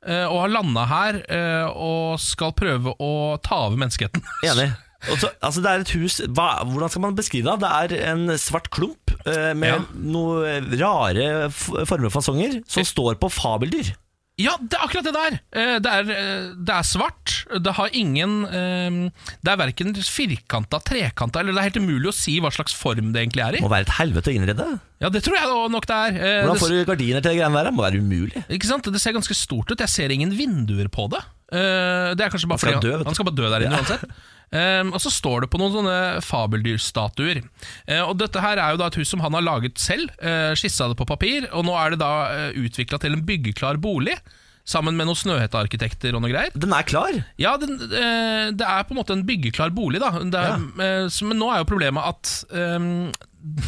eh, Og har landa her eh, og skal prøve å ta over menneskeheten. Enig. Og så, altså, det er et hus hva, Hvordan skal man beskrive det? Det er en svart klump eh, med Ja. noen rare f- former og fasonger som står på fabeldyr. Ja, det er akkurat det der! Det er, eh, det er svart. Det har ingen eh, Det er verken firkanta, trekanta eller Det er helt umulig å si hva slags form det egentlig er i. Må være et helvete å innrede. Ja, det tror jeg da nok det er. Eh, Hvordan det, får du gardiner til det greiene der? Må være umulig. ikke sant? det ser ganske stort ut. Jeg ser ingen vinduer på det. Eh, det er kanskje bare skal fordi dø, vet han, du. han skal bare dø der inne uansett. Eh, og så står det på noen sånne fabeldyrstatuer. Eh, og dette her er jo da et hus som han har laget selv. Uh, skissa det på papir, og nå er det da uh, utvikla til en byggeklar bolig. Sammen med noen Snøhette-arkitekter og noe greier. Den er klar. Ja, den, eh, det er på en måte en byggeklar bolig, da. Det er, eh, så- men nå er jo problemet at ehm,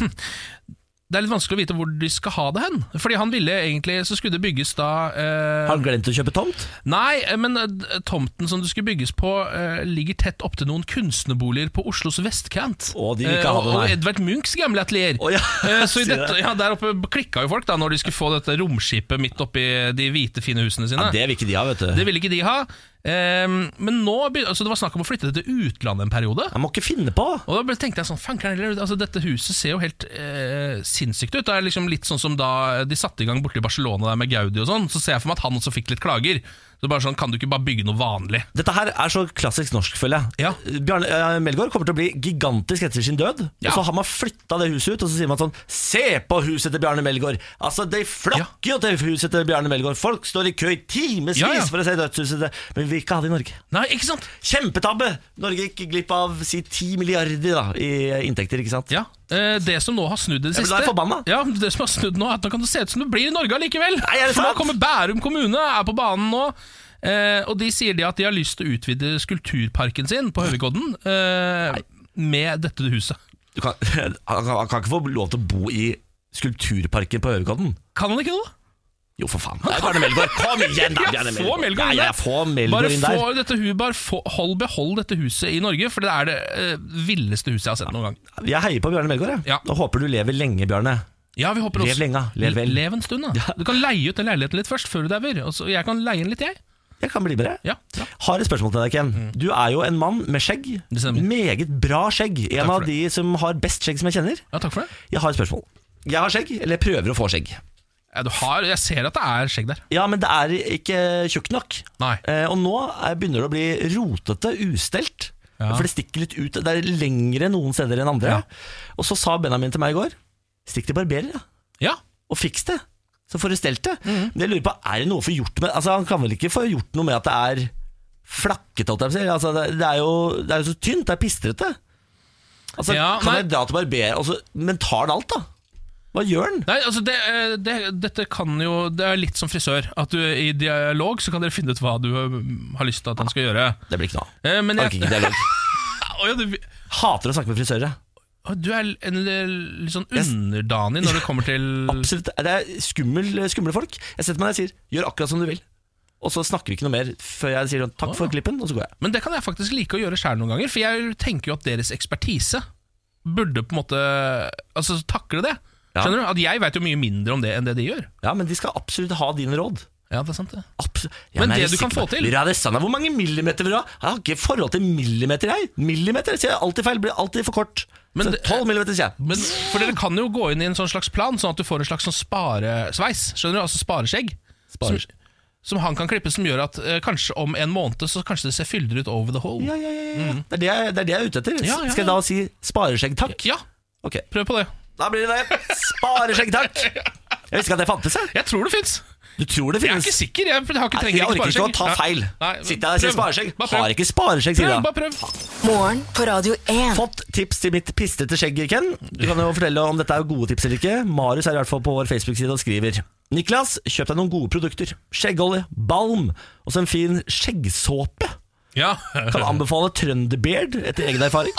det er litt vanskelig å vite hvor de skal ha det hen. Fordi han ville egentlig Så skulle det bygges da eh, Har han glemt å kjøpe tomt? Nei, eh, men eh, tomten som det skulle bygges på, eh, ligger tett opptil noen kunstnerboliger på Oslos vestkant. Å, de vil ikke ha Eh, det, og- nei. Og Edvard Munchs gamle atelier. Å, ja. Eh, så i Sier dette, det. ja, Der oppe klikka jo folk da når de skulle få dette romskipet midt oppi de hvite, fine husene sine. Ja, det vil ikke de ha, vet du. Det ville ikke de ha. Ehm, men nå begyn- altså Det var snakk om å flytte det til utlandet en periode. Jeg må ikke finne på! Og da ble- tenkte jeg sånn, faen, kan jeg heller- altså, dette huset ser jo helt eh, sinnssykt ut. Det er liksom litt sånn som da de satte i gang borte i Barcelona der med Gaudi og sånn, så ser jeg for meg at han også fikk litt klager. Så bare sånn, kan du ikke bare bygge noe vanlig? Dette her er så klassisk norsk, føler jeg. Ja. Bjarne eh, Melgaard kommer til å bli gigantisk etter sin død. Ja. Og så har man flytta det huset ut, og så sier man sånn Se på huset til Bjarne Melgaard! Altså, de flokker jo til huset til Bjarne Melgaard. Folk står i kø i timevis Ja, ja. for å se dødshuset til Men vi vil ikke ha det i Norge. Nei, ikke sant? Kjempetabbe! Norge gikk glipp av si 10 milliarder da, i inntekter, ikke sant? Ja. Eh, det som nå har snudd i det Jeg ble siste da forbanna. Ja, det som har snudd nå, er at nå kan det se ut som det blir i Norge allikevel. Nei, er det For nå sant? kommer Bærum kommune, er på banen nå. Eh, og de sier de at de har lyst til å utvide skulpturparken sin på Høvikodden eh, med dette huset. Du kan, han, kan, han kan ikke få lov til å bo i skulpturparken på Øverkodden. Kan han ikke det, da? Jo, for faen. Det er Bjarne Melgaard. Kom igjen, da! Ja, Bjarne få Melgaard inn Ja, ja, der. få Melgaard Bare inn der. få dette huset, bare få, hold, behold dette huset i Norge, for det er det eh, villeste huset jeg har sett noen gang. Jeg heier på Bjarne Melgaard. jeg. Ja. Og håper du lever lenge, Bjarne. Ja, vi håper Lev også lenge, lev vel. Lev en stund, da. Du kan leie ut den leiligheten litt først, før du dauer. og så- Jeg kan leie den litt, jeg. Jeg kan bli med deg. Ja, ja. Har et spørsmål til deg, Ken. Du er jo en mann med skjegg. Det stemmer. Meget bra skjegg. En for av det. de som har best skjegg som jeg kjenner. ja takk for det. Jeg har et spørsmål. Jeg har skjegg, eller jeg prøver å få skjegg. Ja, du har, jeg ser at det er skjegg der. Ja, men det er ikke tjukt nok. Nei. Eh, og nå er- begynner det å bli rotete, ustelt. Ja. For det stikker litt ut. Det er lengre noen steder enn andre. Ja. Og så sa Benjamin til meg i går Stikk til barberer, ja. Ja, og fiks det. Så får du stelt det. Men Mhm. jeg lurer på, er det noe for gjort med Altså, Han kan vel ikke få gjort noe med at det er flakkete? holdt jeg på å si. Altså, det, det, er jo, det er jo så tynt, det er pistrete. Altså, Ja, Kan nei. jeg dra til barber altså, Men tar han alt, da? Hva gjør han? Nei, altså det, eh, det, dette kan jo Det er litt som frisør. At du I dialog så kan dere finne ut hva du eh, har lyst til at han skal gjøre. Det blir ikke noe av. Eh, Men Orker ikke jeg, dialog. Å, ja, du, Hater å snakke med frisører. å, du er en l- litt sånn underdanig når det kommer til Absolutt, Det er skummel, skumle folk. Jeg setter meg ned og sier 'gjør akkurat som du vil'. Og så snakker vi ikke noe mer før jeg sier 'takk for klippen', og så går jeg. Men det kan jeg faktisk like å gjøre sjøl noen ganger, for jeg tenker jo at deres ekspertise burde på en måte Altså takle det. Ja. Skjønner du? At jeg veit jo mye mindre om det enn det de gjør. Ja, Men de skal absolutt ha dine råd. Ja, det er sant det Abs- Ja, Men jeg det er du kan sikker på- få til- Vil du ha det sanne? Hvor mange millimeter vil du ha? Jeg har ikke forhold til millimeter, jeg. Millimeter sier jeg alltid feil. Blir alltid for kort. Men Så det- 12 millimeter, sier jeg. Men For dere kan jo gå inn i en sånn slags plan, sånn at du får en slags sånn sparesveis. Skjønner du? Altså spareskjegg. Sparer. Som, som han kan klippe, som gjør at eh, kanskje om en måned så kanskje det ser fyldigere ut over the hole. Ja, ja, ja, ja. ja. Mm. Det, er det, jeg, det er det jeg er ute etter. S- Ja, ja, Skal jeg ja. da si spareskjegg takk? Ja, Ok, prøv på det. da blir det det. Spareskjegg takk. Jeg visste ikke at det fantes, jeg. Jeg tror det fins. Du tror det Jeg er finnes. ikke sikker. Jeg har ikke Nei, trenger jeg orker ikke å spareskjegg. ta Nei. feil. Nei, Sitter jeg og sier prøv. spareskjegg? Bare prøv. Har ikke spareskjegg, sier Prøv, jeg da. bare prøv. Morgen på Radio 1. Fått tips til mitt pistrete skjegg, Ken. Du kan jo fortelle om dette er gode tips eller ikke. Marius er i hvert fall på vår Facebook-side og skriver Niklas, kjøp deg noen gode produkter. Skjeggolje, balm og så en fin skjeggsåpe. Ja. Kan anbefale Trønderbeard etter egen erfaring.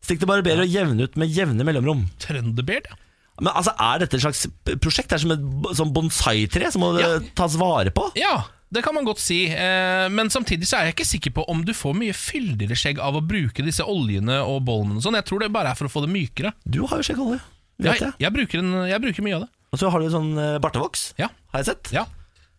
Stikk til barberer og jevne ut med jevne mellomrom. Trønderbeard, ja. Men altså, Er dette et slags prosjekt? Det er som et b- sånn bonsai-tre som må Ja. eh, tas vare på? Ja, det kan man godt si. Eh, men samtidig så er jeg ikke sikker på om du får mye fyldigere skjegg av å bruke disse oljene og bollene og sånn. Jeg tror det bare er for å få det mykere. Du har jo skjeggolje, vet Jeg, jeg. jeg, bruker, en, jeg bruker mye av det. Og så har du sånn eh, bartevoks, Ja. har jeg sett. ja.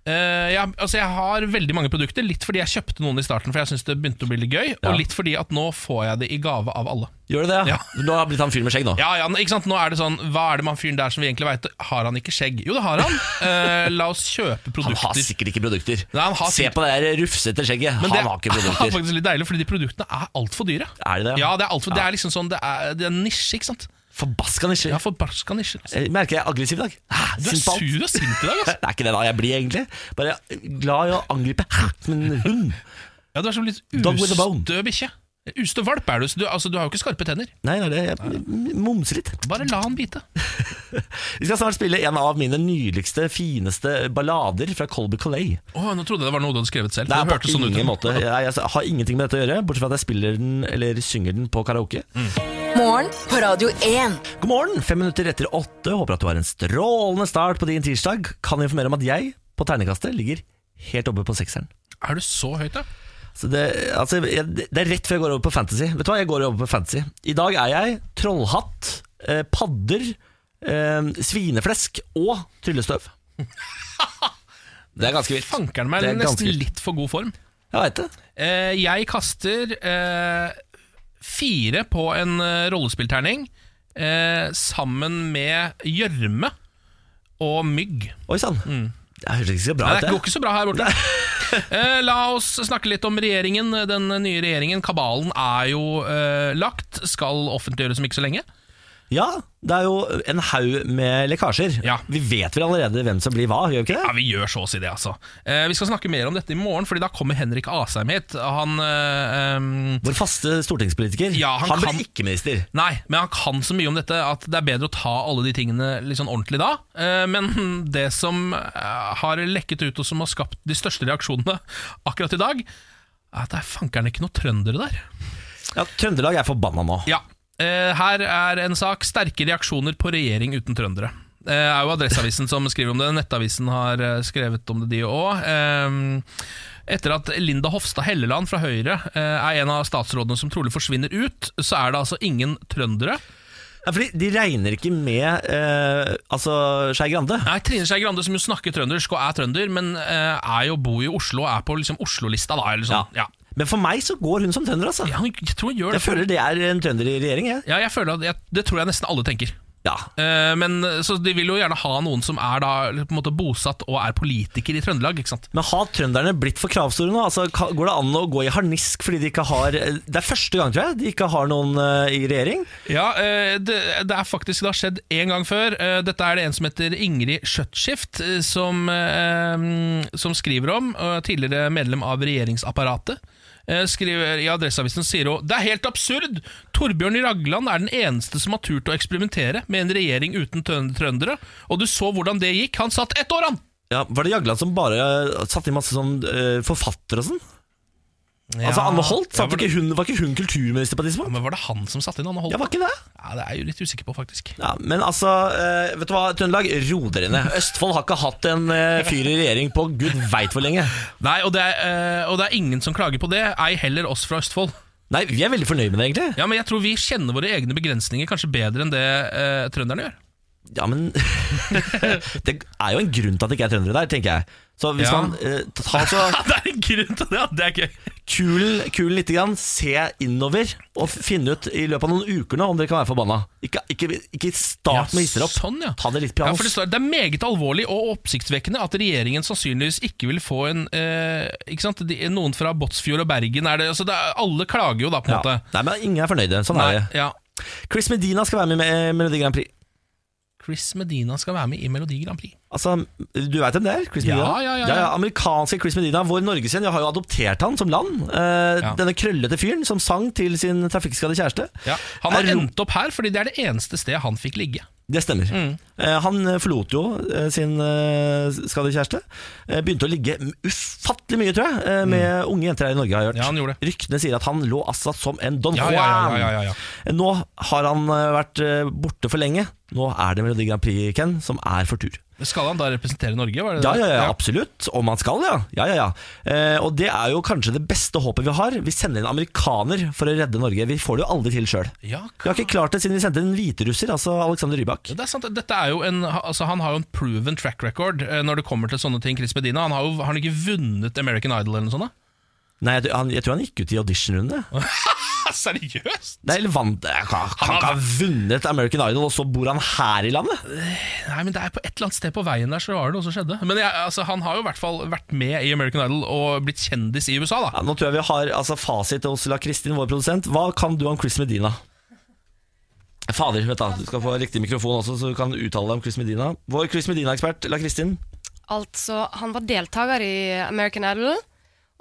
Eh, ja, altså jeg har veldig mange produkter, litt fordi jeg kjøpte noen i starten, for jeg syntes det begynte å bli litt gøy, Ja. og litt fordi at nå får jeg det i gave av alle. Gjør du det? Ja. Nå har jeg blitt han fyren med skjegg nå. Ja, ja, ikke sant? Nå er det sånn, Hva er det med han fyren der som vi egentlig veit? Har han ikke skjegg? Jo, det har han. Eh, la oss kjøpe Han har produkter. sikkert ikke produkter. Nei, han har Se sikkert- på det der rufsete skjegget. Han det har ikke er produkter. faktisk litt deilig, fordi de produktene er altfor dyre. Er det det? Ja, det er alt for, det er liksom sånn, det er, det er en nisje, ikke sant? Forbaska nisjer. Ja, forbarska nisje. Eh, Merker jeg er aggressiv i dag. Ah, Du er sint på alt. sur og sint i dag, altså. ass. Det er ikke det da jeg blir, egentlig. Bare glad i å angripe som en hund. Ja, du er som litt Dog with a bone. ustø bikkje. Ustø valp er du, så du, altså, du har jo ikke skarpe tenner. Nei, nei, det, jeg mumser litt. Bare la han bite. Vi skal snart spille en av mine nydeligste, fineste ballader fra Colby Colley. Å, nå trodde jeg det var noe du hadde skrevet selv. Det for er det på hørtes sånn ut. ingen måte Jeg, jeg har ingenting med dette å gjøre, bortsett fra at jeg spiller den eller synger den på karaoke. Morgen på Radio 1. God morgen, fem minutter etter åtte. Håper at du har en strålende start på din tirsdag. Kan informere om at jeg, på ternekastet, ligger helt oppe på sekseren. Er du så høyt, da? Så det, altså, jeg, det er rett før jeg går over på fantasy. Vet du hva, jeg går over på fantasy. I dag er jeg trollhatt, eh, padder, eh, svineflesk og tryllestøv. Det er ganske vilt. Fankeren meg Det er nesten ganske vilt. litt for god form. Jeg veit det. Eh, jeg kaster eh, fire på en eh, rollespillterning eh, sammen med gjørme og mygg. Oi sann. Det høres ikke så bra Mm. ut, Nei, det går det. ikke så bra her borte. Eh, la oss snakke litt om regjeringen. Den nye regjeringen, kabalen, er jo eh, lagt. Skal offentliggjøres om ikke så lenge. Ja, det er jo en haug med lekkasjer. Ja. Vi vet vel allerede hvem som blir hva, gjør vi ikke Ja, det? Vi gjør så å si det, altså. Eh, vi skal snakke mer om dette i morgen, Fordi da kommer Henrik Asheim hit. Han eh, em, Vår faste stortingspolitiker. Ja, han han kan- ble ikke minister. Nei, men han kan så mye om dette at det er bedre å ta alle de tingene litt sånn ordentlig da. Eh, Men det som eh, har lekket ut og som har skapt de største reaksjonene akkurat i dag, er at det er fankeren ikke noe trøndere der. Ja, Trøndelag er forbanna nå. Ja, eh, her er en sak Sterke reaksjoner på regjering uten trøndere Det er jo Adresseavisen som skriver om det Nettavisen har eh, skrevet om det de også Ehm, Etter at Linda Hofstad Helleland fra Høyre eh, Er en av statsrådene som trolig forsvinner ut Så er det altså ingen trøndere Ja, fordi de regner ikke med eh, altså Skei Grande. Nei, Trine Skei Grande som jo snakker trøndersk og er trønder Men eh, er jo bor i Oslo og er på liksom Oslo-lista da eller sånn. ja. Men for meg så går hun som trønder, altså. Ja, hun- Jeg tror hun gjør Jeg det føler det er en trønder i regjering, jeg. ja, jeg føler at jeg, Det tror jeg nesten alle tenker Ja. Eh, Men så De vil jo gjerne ha noen som er da på en måte bosatt og er politiker i Trøndelag. ikke sant? Men har trønderne blitt for kravstore nå? Altså, ka- går det an å gå i harnisk fordi de ikke har eh, Det er første gang, tror jeg, de ikke har noen eh, i regjering. Ja, eh, det, det er faktisk det har skjedd én gang før. Eh, Dette er det en som heter Ingrid Skjøtskift eh, som, eh, som skriver om. og Tidligere medlem av regjeringsapparatet. Eh, Skriver, I Adresseavisen sier hun Det er helt absurd! Torbjørn Ragland er den eneste som har turt å eksperimentere med en regjering uten trøn- trøndere. Og du så hvordan det gikk. Han satt ett år, han! Ja, Var det Jagland som bare eh, satte inn masse sånn eh, forfattere og sånn? Altså, Anne Holt? Ja, Satt var det- ikke hun, var ikke hun kulturminister på et tidspunkt? Men var det han som satte inn Anne Holt? Ja, var ikke det? Ja, det er jeg jo litt usikker på, faktisk. Ja, men altså, eh, vet du hva, Trøndelag, ro dere ned. Østfold har ikke hatt en eh, fyr i regjering på gud veit hvor lenge. Nei, og det, er, eh, og det er ingen som klager på det, ei heller oss fra Østfold. Nei, vi er veldig fornøyd med det, egentlig. Ja, men jeg tror vi kjenner våre egne begrensninger kanskje bedre enn det eh, trønderne gjør. Ja, men Det er jo en grunn til at det ikke er trøndere der, tenker jeg. Så hvis Ja. man eh, tar så det er en grunn til det, ja, det er gøy. kulen, kulen litt, grann, se innover, og f- finne ut i løpet av noen uker nå om dere kan være forbanna. Ikke, ikke, ikke Ja, start med hisser opp. Sånn, ja. Ta det litt Ja, piano. for det, står, det er meget alvorlig og oppsiktsvekkende at regjeringen sannsynligvis ikke vil få en eh, ikke sant? De, Noen fra Båtsfjord og Bergen er det, altså det er, Alle klager jo da, på Ja. en måte. Nei, men Ingen er fornøyde. Sånn er det. ja. Chris Medina skal være med i Melodi Grand Prix. Chris Medina skal være med i Melodi Grand Prix. Altså, Du veit hvem det er? Chris Ja, Medina? ja, ja, ja. Amerikanske Chris Medina. Vår norgesvenn. Jeg har jo adoptert han som land. Eh, Ja. Denne krøllete fyren som sang til sin trafikkskadde kjæreste. Ja. Han har Er ro- endt opp her fordi det er det eneste stedet han fikk ligge. Det stemmer. Mm. Eh, han forlot jo eh, sin eh, skadde kjæreste. Eh, begynte å ligge ufattelig mye, tror jeg, eh, med unge jenter her i Norge, har jeg hørt. Mm. Ja, han gjorde det. Ryktene sier at han lå altså som en Don Ja, Juan. ja, ja, ja, ja, ja. Eh, Nå har han eh, vært eh, borte for lenge. Nå er det Melodi Grand Prix, Ken, som er for tur. Skal han da representere Norge? Var det Ja, det? ja, ja, absolutt. Om han skal, ja. ja, ja, ja. Eh, og det er jo kanskje det beste håpet vi har. Vi sender en amerikaner for å redde Norge. Vi får det jo aldri til sjøl. Ja, Vi har ikke klart det siden vi sendte en hviterusser, altså Alexander Rybak. Ja, Det er sant, dette er jo en, altså Han har jo en proven track record eh, når det kommer til sånne ting. Chris Medina, Han har jo har han ikke vunnet American Idol eller noe sånt? da? Nei, jeg, tror- han, jeg tror han gikk ut i auditionrunde. Ah, seriøst? Nei, eller vant Jeg kan kan ikke ha vunnet American Idol, og så bor han her i landet? Nei, men det er på et eller annet sted på veien der så var det noe som skjedde. Men jeg, altså, han har jo i hvert fall vært med i American Idol og blitt kjendis i USA, da. Ja, nå tror jeg vi har altså, fasit hos La Kristin, vår produsent. Hva kan du om Chris Medina? Fader, vet du, du skal få riktig mikrofon også, så du kan uttale deg om Chris Medina. Vår Chris Medina-ekspert, La Kristin. Altså, han var deltaker i American Idol,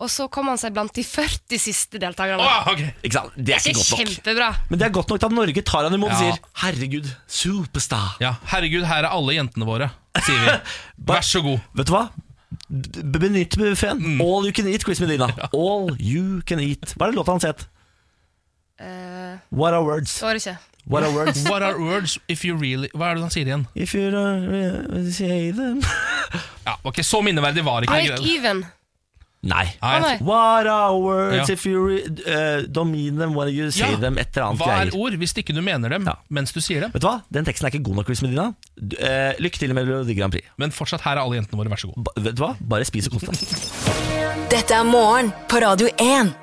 og så kom han seg blant de 40 siste deltakerne. Åh, Ah, ok. Ikke sant? Det er det ikke er godt nok. kjempebra. Men det er godt nok at Norge tar han imot og Ja. sier 'herregud, superstar'. Ja, Herregud, her er alle jentene våre, sier vi. Vær så god. Vet du hva? B- Benytt buffeen. Mm. All you can eat, Chris Medina. All you can eat. Hva er det låta hans het? Eh, What are words? så var det ikke. What are words? What are words if you really Hva er det han sier igjen? If you don't really say them Ja, ok, Så minneverdig var ikke Break even. Nei. Nei, Å, nei. What are words Ja. if you re eh, don't mean them when you say Ja. them? Et eller annet Hva er greier. ord hvis ikke du mener dem Ja. mens du sier dem? Vet du hva? Den teksten er ikke god nok, Chris Medina. Du, eh, lykke til med Melodi Grand Prix. Men fortsatt, her er alle jentene våre, vær så god. Ba vet du hva? Bare spis og kos deg. Dette er morgen på Radio 1.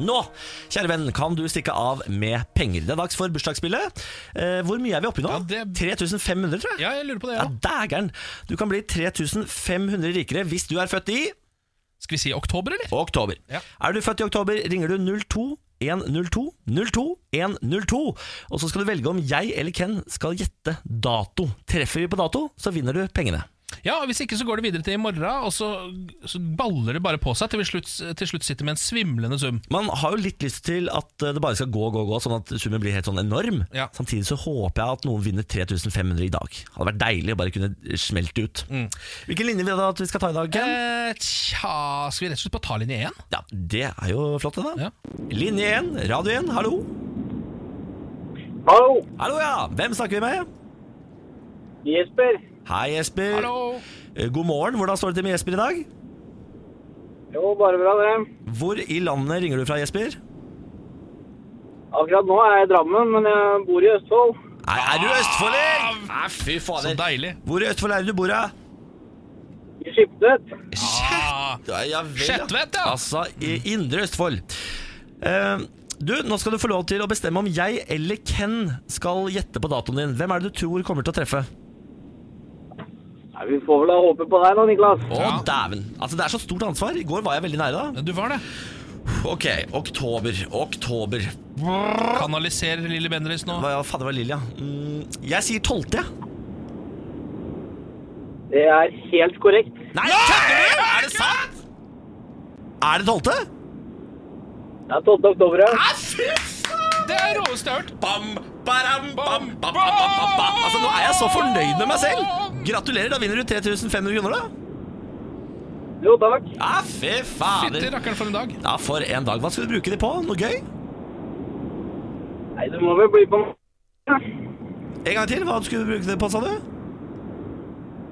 Nå, kjære venn, kan du stikke av med penger. Det er dags for bursdagsspillet. Eh, hvor mye er vi oppe i nå? Ja, det- 3500, tror jeg. Ja, jeg lurer på det, Ja, ja. dægeren. Du kan bli 3500 rikere hvis du er født i Skal vi si oktober, eller? oktober. Ja. Er du født i oktober, ringer du 02 102 02 102. Og så skal du velge om jeg eller Ken skal gjette dato. Treffer vi på dato, så vinner du pengene. Ja, og Hvis ikke så går det videre til i morgen, og så, så baller det bare på seg til vi slutt, til slutt sitter med en svimlende sum. Man har jo litt lyst til at eh, det bare skal gå, gå, gå, sånn at summen blir helt sånn enorm. Ja. Samtidig så håper jeg at noen vinner 3500 i dag. Hadde vært deilig å bare kunne smelte ut. Hvilken linje vil du at vi skal ta i dag, Ken? Mm. Eh, tja, skal vi rett og slett bare ta linje én? Ja, Det er jo flott, det, da. Ja. Linje 1, radio 1, hallo. Hallo, Hallo, ja. Hvem snakker vi med? Jesper. Hei, Jesper. Hallo! Eh, God morgen. Hvordan står det til med Jesper i dag? Jo, bare bra det. Hvor i landet ringer du fra, Jesper? Akkurat nå er jeg i Drammen, men jeg bor i Østfold. Nei, er du Ah. østfolding? Nei, fy Så fader. deilig. Hvor i Østfold er det du bor, da? I Skiptvet. Ah, Ja, ja vel, ja. Skjetvet, ja. Altså, i Indre Østfold. Eh, du, nå skal du få lov til å bestemme om jeg eller Ken skal gjette på datoen din. Hvem er det du tror kommer til å treffe? Nei, vi får vel da håpe på deg da, Niklas. Å, Ja. dæven. Altså, det er så stort ansvar. I går var jeg veldig nære, da. du var det. Ok, oktober. Oktober. Kanaliserer Lilly Bendriss nå. Hva fader var Lilja? Mm, jeg sier tolvte, jeg. Det er helt korrekt. Nei, kødder du? Er det sant? Er det tolvte? Det er 12. oktober, ja. Det er råeste jeg har hørt. Bam, baram, bam, bam, bam, bam, bam, bam. Altså, nå er jeg så fornøyd med meg selv. Gratulerer, da vinner du 3500 kroner, da. Jo, takk. Ja, fy fader. Fytti rakkeren for en dag. Ja, for en dag. Hva skal du bruke det på? Noe gøy? Nei, du må vel bli på... En gang til, hva skulle du bruke det på, sa du?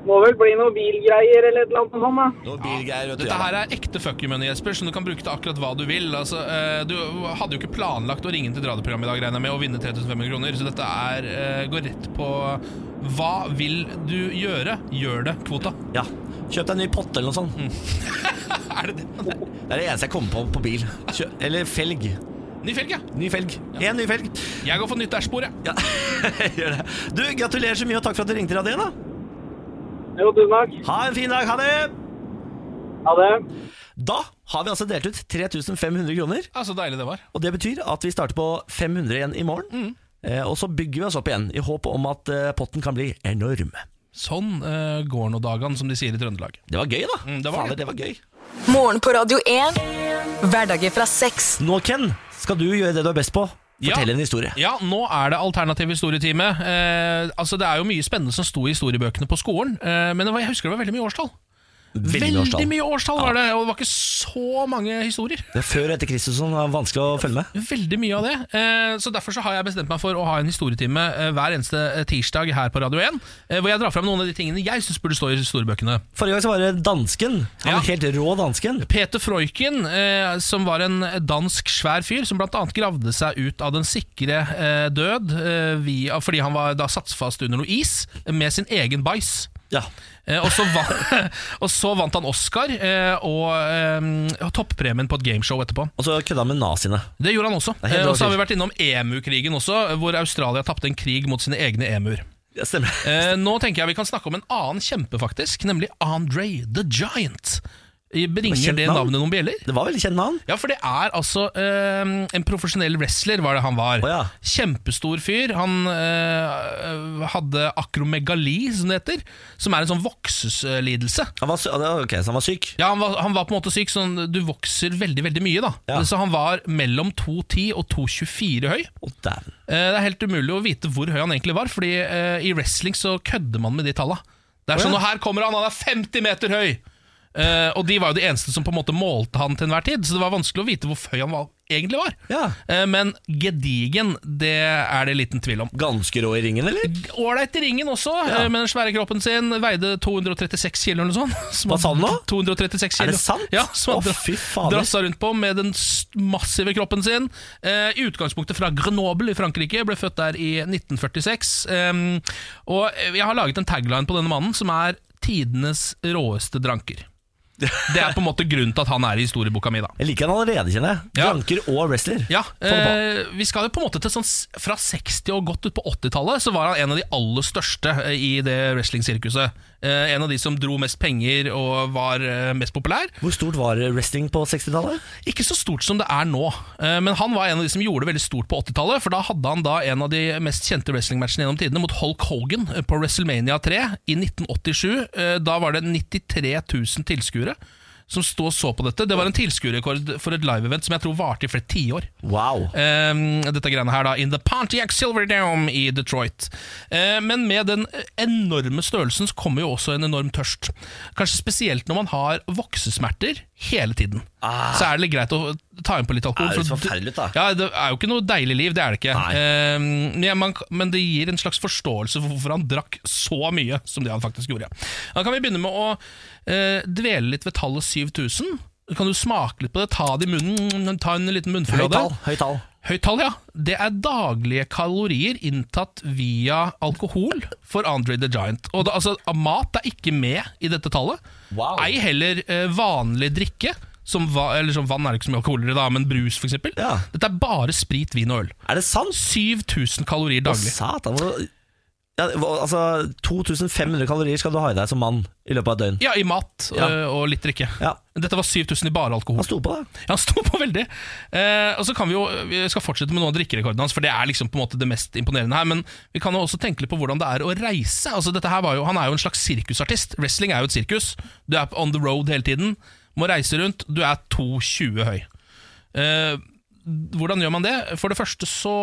Må vel bli noen bilgreier eller et eller annet sånt, da. Noe bilgreier, vet du. Dette her er ekte fuck you money, Jesper, så du kan bruke til akkurat hva du vil. Altså, eh, du hadde jo ikke planlagt å ringe til radioprogrammet i dag, regner jeg med, og vinne 3500 kroner, så dette er, eh, går rett på hva vil du gjøre? Gjør det, kvota. Ja. Kjøp deg en ny potte eller noe sånt. Mm. Er det det? Det er det eneste jeg kommer på på bil. Kjø eller felg. Ny felg, ja. Ny felg. En ny felg. Jeg går for nytt dashbord, jeg. Ja, gjør det. Du, gratulerer så mye, og takk for at du ringte radioen, da. Jo, tusen takk. Ha en fin dag. Ha det! Ha det. Da har vi altså delt ut 3500 kroner, Ja, så deilig det var. og det betyr at vi starter på 500 igjen i morgen. Mm. Eh, og så bygger vi oss opp igjen, i håp om at eh, potten kan bli enorm. Sånn eh, går nå dagene, som de sier i Trøndelag. Det var gøy, da. Mm, det var Fader, det. det var gøy. Morgen på Radio 1. Hverdager fra seks. Nå, Ken, skal du gjøre det du er best på. Fortell Ja. en historie. Ja, nå er det alternativ historietime. Eh, altså, det er jo mye spennende som sto i historiebøkene på skolen, eh, men det var, jeg husker det var veldig mye årstall. Veldig årstall. mye årstall var det, og det var ikke så mange historier. Det er før og etter Kristus som er vanskelig å følge med. Veldig mye av det. Eh, Så Derfor så har jeg bestemt meg for å ha en historietime eh, hver eneste eh, tirsdag her på Radio 1, eh, hvor jeg drar fram noen av de tingene jeg syns burde stå i historiebøkene. Forrige gang så var det dansken. Han Ja. er helt rå dansken. Peter Freuchen, eh, som var en dansk svær fyr, som bl.a. gravde seg ut av den sikre eh, død eh, via, fordi han var da satt fast under noe is med sin egen bæsj. Ja. Eh, og, så vant, og så vant han Oscar eh, og eh, toppremien på et gameshow etterpå. Og så kødda han med naziene. Det gjorde han også. er helt Eh, Og så har rart. vi vært innom emu-krigen også, hvor Australia tapte en krig mot sine egne emuer. Ja, stemmer. Eh, nå tenker jeg vi kan snakke om en annen kjempe, faktisk, nemlig Andre the Giant. I- Bringer Kjent det navn. navnet noen bjeller? Det var veldig kjent navn. Ja, for det er altså eh, En profesjonell wrestler var det han var. Å ja. Kjempestor fyr. Han eh, hadde akromegali, som det heter, som er en sånn vokseslidelse. Han var, sy- ok, så han var syk. Ja, han var, han var på en måte syk, sånn du vokser veldig, veldig mye, da. Ja. Så han var mellom 2,10 og 2,24 høy. Å, dæven. Eh, Det er helt umulig å vite hvor høy han egentlig var, Fordi eh, i wrestling så kødder man med de talla. Det er sånn, og her kommer han, han er 50 meter høy! Eh, og de var jo de eneste som på en måte målte han til enhver tid, så det var vanskelig å vite hvor høy han var, egentlig var. Ja. Eh, men gedigen, det er det liten tvil om. Ganske rå i ringen, eller? Ålreit i ringen også, eh, med den svære kroppen sin. Veide 236 kilo eller noe sånt. Som Hva sa han nå? 236 Er kilo. det sant? Ja, som han Å, dra- fy fader. drassa rundt på med den s- massive kroppen sin. Eh, I utgangspunktet fra Grenoble i Frankrike, ble født der i 1946. Em, og jeg har laget en tagline på denne mannen, som er 'tidenes råeste dranker'. Det er på en måte grunnen til at han er i historieboka mi, da. Jeg liker han allerede, kjenner jeg. Ja. Ranker og wrestler. Ja, Få det på. eh, vi skal jo på en måte til sånn s- Fra 60 og godt ut på 80-tallet Så var han en av de aller største eh, i det wrestling-sirkuset eh, En av de som dro mest penger og var eh, mest populær Hvor stort var wrestling på 60-tallet? Ikke så stort som det er nå eh, Men han var en av de som gjorde det veldig stort på 80-tallet For da hadde han da en av de mest kjente wrestling-matchene gjennom tidene Mot Hulk Hogan eh, på WrestleMania 3 i 1987 Eh, Da var det 93 000 tilskuere som stod og så på dette Det var en tilskuerekord for et live-event Som jeg tror varte i flere tiår Wow. Ehm, dette greiene her da In the Pontiac Silverdome i Detroit Eh, Men med den enorme størrelsen Så kommer jo også en enorm tørst Kanskje spesielt når man har voksesmerter Hele tiden Så er det litt greit å ta inn på litt alkohol Ah. Det er jo for så forferdelig ut, da. Ja, det er jo ikke noe deilig liv, det er det ikke Nei. Ehm, men, jeg- man, men det gir en slags forståelse For hvorfor han drakk så mye Som det han faktisk gjorde Da kan vi begynne med å eh, dvele litt ved tallet 7000 kan du smake litt på det, ta det i munnen Ta en liten munnfull av Høyt det tall. Høyt tall. Høyt tall, ja. Det er daglige kalorier inntatt via alkohol for Andre the Giant. Og da, altså, mat er ikke med i dette tallet. Wow. Ei heller eh, vanlig drikke. Som va eller som vann er det ikke så mye alkohol i, da, men brus f.eks. Ja. Dette er bare sprit, vin og øl. Er det sant? 7000 kalorier Å, daglig. Satan. hvor- Ja, hva- altså, 2500 kalorier skal du ha i deg som mann i løpet av et døgn. Ja, i mat Ja. eh, og litt drikke. Ja. Dette var 7000 i bare alkohol. Han sto på det. Ja, Han sto på veldig. Eh, og så kan Vi jo, vi skal fortsette med noen av drikkerekordene hans, for det er liksom på en måte det mest imponerende her. Men vi kan jo også tenke litt på hvordan det er å reise. Altså dette her var jo, Han er jo en slags sirkusartist. Wrestling er jo et sirkus. Du er on the road hele tiden. Må reise rundt. Du er 2,20 høy. Eh, hvordan gjør man det? For det første så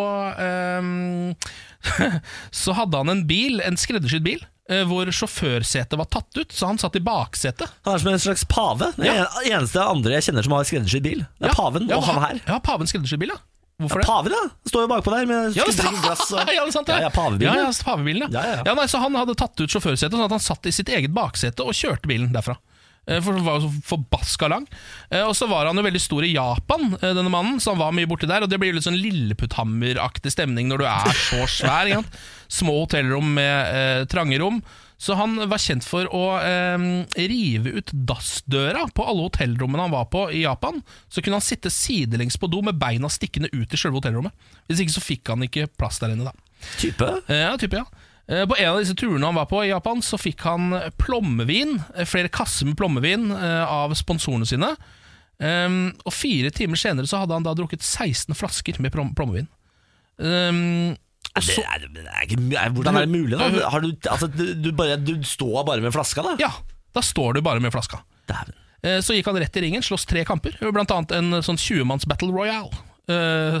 eh, Så hadde han en bil, en skreddersydd bil, eh, hvor sjåførsetet var tatt ut, så han satt i baksetet. Han er som en slags pave. Den Ja. en- eneste andre jeg kjenner som har skreddersydd bil. Det er paven og han her. Ja, paven skreddersydd bil, ja. Hvorfor det? Paven, ja! Står jo bakpå der med Ja, det, skreddersydd glass. Og... ja, det er sant, Ja, ja, pavebilen, Ja, ja. ja, pavebilen, ja. Ja, ja, ja. nei, så han hadde tatt ut sjåførsetet, sånn at han satt i sitt eget baksete og kjørte bilen derfra. Eh, For han var jo så forbaska lang. Eh, Og så var han jo veldig stor i Japan, eh, denne mannen, så han var mye borti der. Og det blir jo litt sånn Lilleputthammer-aktig stemning når du er så svær. Ikke sant? Små hotellrom med eh, trange rom. Så han var kjent for å eh, rive ut dassdøra på alle hotellrommene han var på i Japan. Så kunne han sitte sidelengs på do med beina stikkende ut i sjølve hotellrommet. Hvis ikke så fikk han ikke plass der inne, da. Type. Eh, Ja, type, ja. Eh, På en av disse turene han var på i Japan, så fikk han plommevin, eh, flere kasser med plommevin eh, av sponsorene sine. Ehm, og fire timer senere så hadde han da drukket 16 flasker med plom plommevin. Ehm, og Det så, Mhm. er, det er ikke, mu- er, hvordan er det mulig, da? Har du, altså, du, du, bare, du står bare med flaska, da? ja, da står du bare med flaska. Dæven. Eh, Så gikk han rett i ringen, sloss tre kamper, blant annet en eh, sånn 20-manns battle royale. Eh,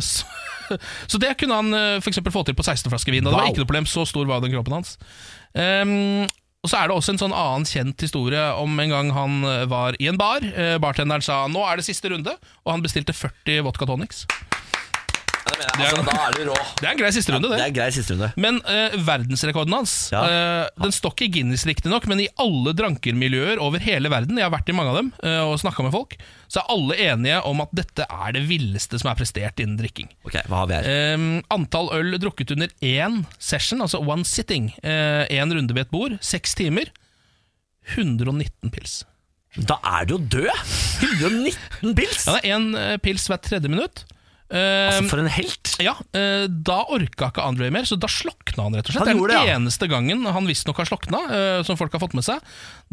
Så, så det kunne han eh, for eksempel få til på 16 flasker vin. og Det Wow. var ikke noe problem, så stor var den kroppen hans. Ehm, og Så er det også en sånn annen kjent historie om en gang han eh, var i en bar. Eh, Bartenderen sa 'nå er det siste runde', og han bestilte 40 vodka tonics. altså, da er du rå. Det er en grei siste runde, Det er grei siste runde. men eh, verdensrekorden hans Ja. eh, Den står ikke i Guinness riktignok, men i alle drankermiljøer over hele verden, jeg har vært i mange av dem eh, og snakka med folk, så er alle enige om at dette er det villeste som er prestert innen drikking. Ok, hva har vi her? Eh, antall øl drukket under én session, altså one sitting, eh, én runde ved et bord, seks timer. 119 pils. Da er du jo død! 119 pils! Ja, det er én eh, pils hvert tredje minutt. Eh, Altså, for en helt! Ja, eh, Da orka ikke Andre mer, så da slokna han. rett og slett Han Det gjorde er den det, ja. eneste gangen han visstnok har slokna, eh, som folk har fått med seg.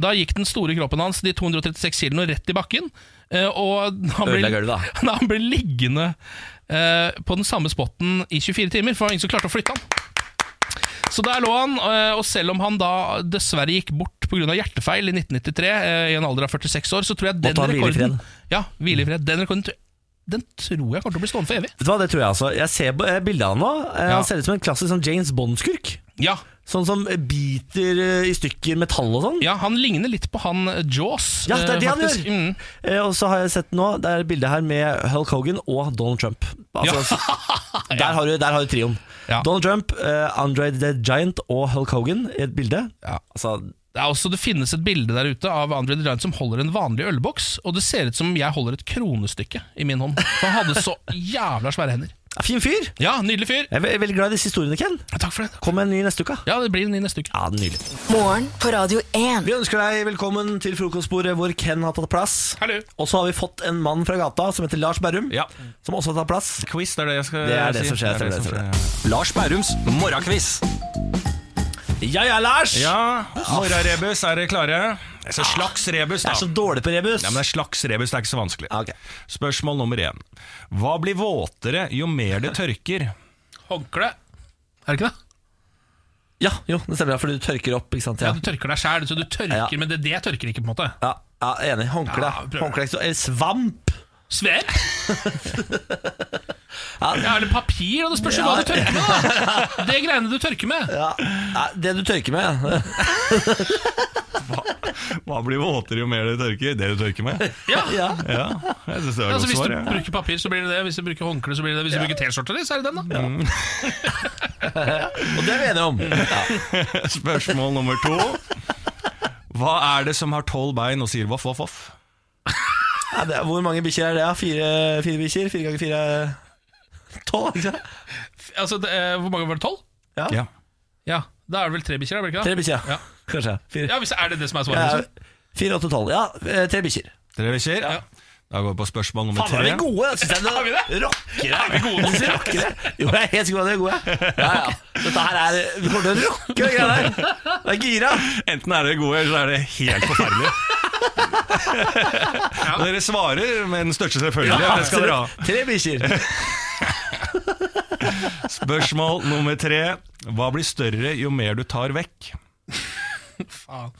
Da gikk den store kroppen hans de 236 kiloene rett i bakken. eh, og han Ødela gulvet, da. Nei, han ble liggende eh, på den samme spotten i 24 timer, for det var ingen som klarte å flytte han. Så der lå han, eh, og selv om han da dessverre gikk bort pga. hjertefeil i 1993, eh, i en alder av 46 år, så tror jeg den Måtte han hvile i rekorden fred. Ja, hvile i fred. Den rekorden tr- den tror jeg kommer til å bli stående for evig. Vet du hva, det tror jeg altså. Jeg ser på- eh, bildet av han nå. Eh, Ja. Han ser ut som en klassisk sånn James Bond-skurk. Ja, Sånn som eh, biter eh, i stykker metall og sånn. Ja, han ligner litt på han eh, Jaws. Ja, det er eh, det han faktisk. gjør. Mm. Eh, Og så har jeg sett nå, det er bildet her med Hulk Hogan og Donald Trump. Altså, der, har du, der har du trioen. Ja. Donald Trump, eh, Andre the Giant og Hulk Hogan i et bilde. Ja. Altså, Det, er også, det finnes et bilde der ute av Andre the Giant som holder en vanlig ølboks, og det ser ut som jeg holder et kronestykke i min hånd. For han hadde så jævla svære hender. ja, fin fyr. Ja, nydelig fyr. Jeg er ve- veldig glad i disse historiene, Ken. Takk for det. Kom med en ny neste uke. Ja, det blir en ny neste uke. Ja, nydelig. Morgen på Radio 1. Vi ønsker deg velkommen til frokostbordet hvor Ken har tatt plass. Hallo. Og så har vi fått en mann fra gata som heter Lars Berrum, Ja. som også har tatt plass. Quiz, det er det jeg skal Det er det si. som skjer, Det er det stemmer det, som stemmer skjer, Lars Bærums morgenkviss. Ja ja, Lars! Ja, morgenrebus, er dere klare? Altså slags rebus, Jeg da. er så dårlig på rebus. Ja, men det er slags rebus, det er ikke så vanskelig. Ja, ok. Spørsmål nummer én. Hva blir våtere jo mer det tørker? ja. Håndkle. Er det ikke det? ja, jo, det stemmer, ja, for du tørker opp, ikke sant? Ja, Ja, Du tørker deg sjæl, så du tørker, Ja. men det, det tørker ikke, på en måte. ja, ja enig. Håndkle. Ja, prøv. Håndkle eller svamp. Svev? ja, eller papir, og det spørs jo hva du tørker med. da Det greiene du tørker med. Ja, ja, det du tørker med. ja. Hva blir våtere jo mer det tørker? Det du tørker med? Ja, Ja. Ja, jeg synes det var et altså godt Hvis svar. du ja. bruker papir, så blir det det. Hvis du bruker håndkle, så blir det det. Hvis du bruker T-skjorte, så er det den, da. Og det er vi enige om. Ja. Spørsmål nummer to. Hva er det som har tolv bein og sier voff, voff, voff? Ja, det er, hvor mange bikkjer er det? da? Fire, fire bikkjer? Fire ganger fire er Tolv, ikke sant? Altså, det, eh, Hvor mange var det? Tolv? Ja. Ja, Da er det vel tre bikkjer? er det ikke Tre det? bikkjer, Ja. ja. Kanskje. Fire, Ja, hvis det er det det som ja, er svaret. liksom. fire åtte, tolv. Ja, eh, tre bikkjer. Dere bikkjer? Ja. Da går vi på spørsmål nummer Faen, er tre. vi gode? Synes jeg Er vi det? Rockere. Er vi gode nok? Synes jeg rockere? Jo, jeg er helt sikker på at vi er gode. Ja, ja. Dette her er Vi kommer til å rocke det greia der. Det er gira. Enten er dere gode, eller så er det helt forferdelig. Dere svarer med den største selvfølgelig. og det skal dere ha. Tre bikkjer. Spørsmål nummer tre. Hva blir større jo mer du tar vekk? Faen.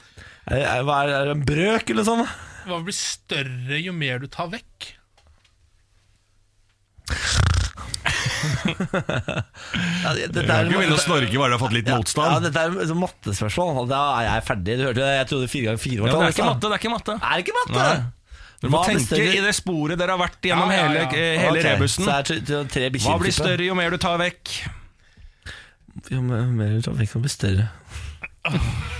Er er- hva er- er det en brøk eller noe sånt? Hva blir større jo mer du tar vekk? Ja, det- dette Du er- kan ikke begynne å snorke bare du har fått litt Ja, ja, motstand. dette er et mattespørsmål. Da er jeg ferdig. Du hørte det, jeg trodde fire ganger fire var Ja, men tolv. det er ikke matte, det er ikke matte. Er det ikke matte? Nei. Dere må Hva blir tenke større- i det sporet dere har vært Ja, gjennom ja, ja. hele, eh, hele Ok, rebusen. Så er det tre- tre bikkjer Hva blir større jo mer du tar vekk? Jo mer jo mer trafikk som blir større.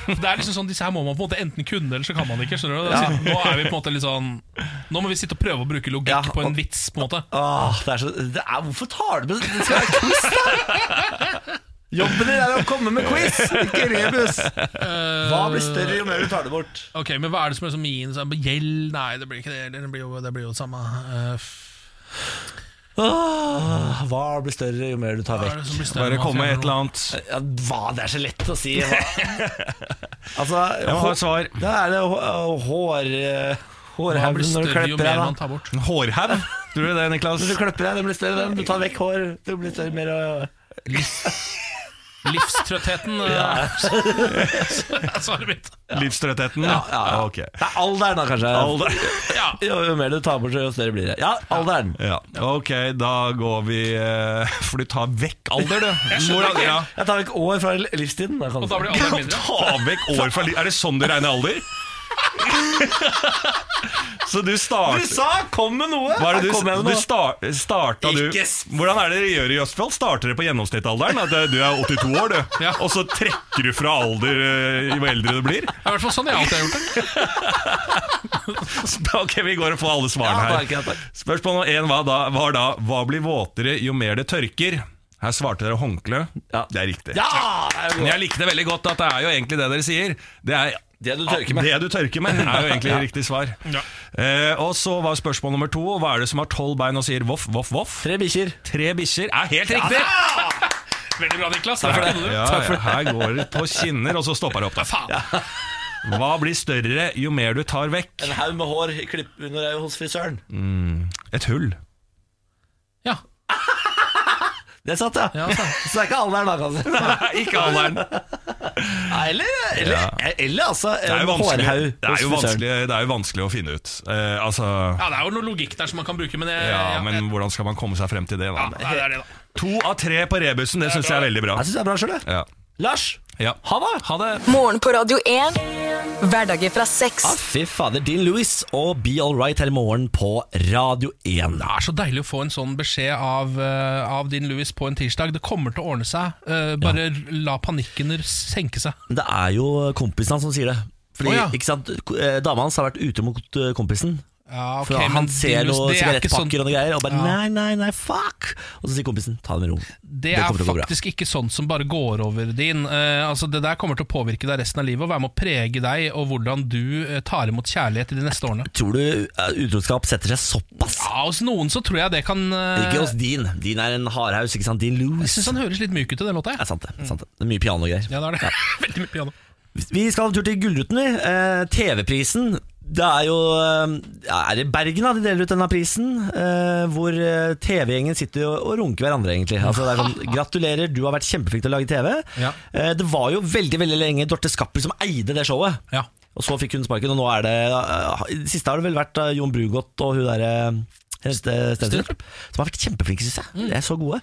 Det er liksom sånn, Disse her må man på en måte enten kunne, eller så kan man ikke. skjønner du? Da sitter- Nå er vi på en måte litt sånn Nå må vi sitte og prøve å bruke logikk Ja, på en og- vits. på en måte Åh, det er så det er, Hvorfor tar du med Det skal være quiz, da! Jobben din er å komme med quiz, ikke rebus. Hva blir større jo mer du tar det bort? Ok, Men hva er det som er så min? Sånn, gjeld? Nei, det blir ikke det. heller. Det blir jo det, blir jo det samme. Eh, f- Åh, hva blir større jo mer du tar hva er vekk? det som blir større Bare enn kom med et hva- eller annet. Ja, hva? Det er så lett å si. Hva? Altså, Jeg må ha et hår, svar. da er det hå- hår... Hva blir Hårhaugen når du større jo klipper mer deg, man da. tar bort? Hårhaug? Tror du det, Niklas? Når du klipper deg, den blir større, den. Du tar vekk hår, det blir større mer å- Livstrøttheten eh, er svaret mitt. Livstrøttheten? Ja, ja, ja. Ok. Det er alderen, da, kanskje. Alder. Ja, Jo, jo mer du tar bort, jo større blir det. Ja, alderen. Ja. Ok, da går vi eh, For du tar vekk alder, du. skjønner Hvordan- ikke. ja. Jeg tar vekk år fra livstiden. Da, kan du Og da blir si. alderen mindre. Ta vekk år fra liv Er det sånn du regner alder? Så du starter du sa 'kom med noe'! hva er Her det du, kommer jeg med du noe. star, starta du Ikke s- Hvordan er det dere gjør i Østfold? Starter dere på gjennomsnittsalderen? At eh, du er 82 år, du. Ja. Og så trekker du fra alder eh, jo eldre du blir? Det er i hvert fall sånn jeg alltid har gjort det. Ok, vi går og får alle Ja, svarene takk, ja, her. takk. Spørsmål nummer én var da, var da Hva blir våtere jo mer det tørker? Her svarte dere håndkle. Ja. Det er riktig. Ja! det er jo Men godt. jeg likte veldig godt at det er jo egentlig det dere sier. Det er Det du tørker med. Det du tørker med, er jo egentlig riktig svar. Eh, og så var spørsmål nummer to hva er det som har tolv bein og sier voff, voff, voff? Tre bikkjer. Tre bikkjer er helt riktig! Veldig bra, Niklas. Der kunne du. Ja, ja, her går det på kinner, og så stopper det opp. Da. Faen. Hva blir større jo mer du tar vekk? En haug med hår i klipp under øyet hos frisøren. Et hull. Ja, Det satt, ja. ja sant. Så det er ikke alderen, da, kanskje. Ikke alderen. Nei, Eller, eller, eller altså Det er en jo vanskelig, hårhaug det er jo hos frisøren. vanskelig, det er jo vanskelig å finne ut. Eh, altså Ja, det er jo noe logikk der som man kan bruke, men, jeg, ja, men jeg, hvordan skal man komme seg frem til det? ja, da? det er det, da. To av tre på rebusen, det syns jeg er veldig bra. Jeg syns det er bra sjøl, jeg. Ja. Lars, Ja. ha det! Ha det. Morgen på Radio 1. Hverdager fra seks. Ja, fy fader. Dean Lewis og Be All Right her i morgen på Radio 1. Det er så deilig å få en sånn beskjed av, eh, av din Louis på en tirsdag. Det kommer til å ordne seg. eh, bare la panikken senke seg. Men Det er jo kompisen hans som sier det. Fordi, Å, ja. ikke sant, eh, Dama hans har vært ute mot eh, kompisen. Ja, ok, For men han ser Dinus, noen det er ikke sånn- sigarettpakker og noe greier, og bare Ja. nei, nei, nei, fuck! Og så sier kompisen ta det med ro. Det kommer er til å gå bra. faktisk ikke sånn som bare går over din. Eh, altså Det der kommer til å påvirke deg resten av livet og være med å prege deg og hvordan du eh, tar imot kjærlighet i de neste årene. Tror du eh, utroskap setter seg såpass? Ja, Hos noen så tror jeg det kan eh, Ikke hos din. Din er en hardhaus, ikke sant? Din Jeg Mm. loose. syns han høres litt myk ut i den Det låta. jeg. er sant, det. det er sant det. Det er mye piano og greier. Ja, det er det. Veldig mye piano. Vi skal en tur til Gullruten, vi. Eh, TV-prisen. Det er jo eh, Er det Bergen da de deler ut denne prisen? Eh, hvor eh, TV-gjengen sitter og, og runker hverandre, egentlig. Altså, det er sånn, Gratulerer, du har vært kjempeflink til å lage TV. Ja. Eh, det var jo veldig veldig lenge Dorte Skappel som eide det showet. Ja. Og så fikk hun sparken, og nå er det eh, i Det siste har det vel vært eh, Jon Brugodt og hun derre Stensrup, som har vært kjempeflinke, syns jeg. Mm. De er så gode.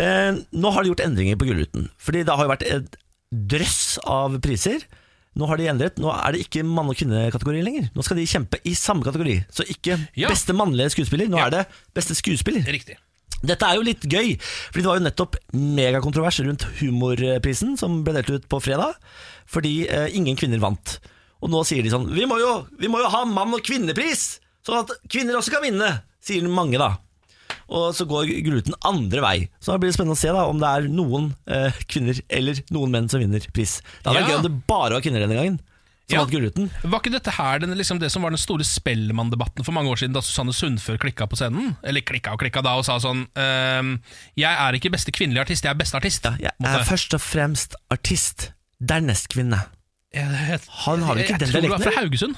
Eh, nå har de gjort endringer på Gullruten. Fordi det har jo vært et drøss av priser. Nå har de endret, nå er det ikke mann- og kvinnekategori lenger. Nå skal de kjempe i samme kategori. Så ikke Ja. beste mannlige skuespiller, nå Ja. er det beste skuespiller. Riktig. Dette er jo litt gøy, fordi det var jo nettopp megakontrovers rundt humorprisen som ble delt ut på fredag, fordi eh, ingen kvinner vant. Og nå sier de sånn Vi må jo, vi må jo ha mann- og kvinnepris! Sånn at kvinner også kan vinne! Sier mange, da. Og så går Gluten andre vei. Så da blir det spennende å se da om det er noen eh, kvinner eller noen menn som vinner pris. Det hadde vært Ja. gøy om det bare var kvinner denne gangen. Som Ja. vant Gullruten. Var ikke dette her den, liksom det som var den store Spellemann-debatten for mange år siden, da Susanne Sundfør klikka på scenen? Eller klikka og klikka da og sa sånn ehm, Jeg er ikke beste kvinnelige artist, jeg er beste artist. Ja, jeg er først og fremst artist, dernest kvinne. Han har jo ikke den Jeg tror du dialekten, var fra Haugesund.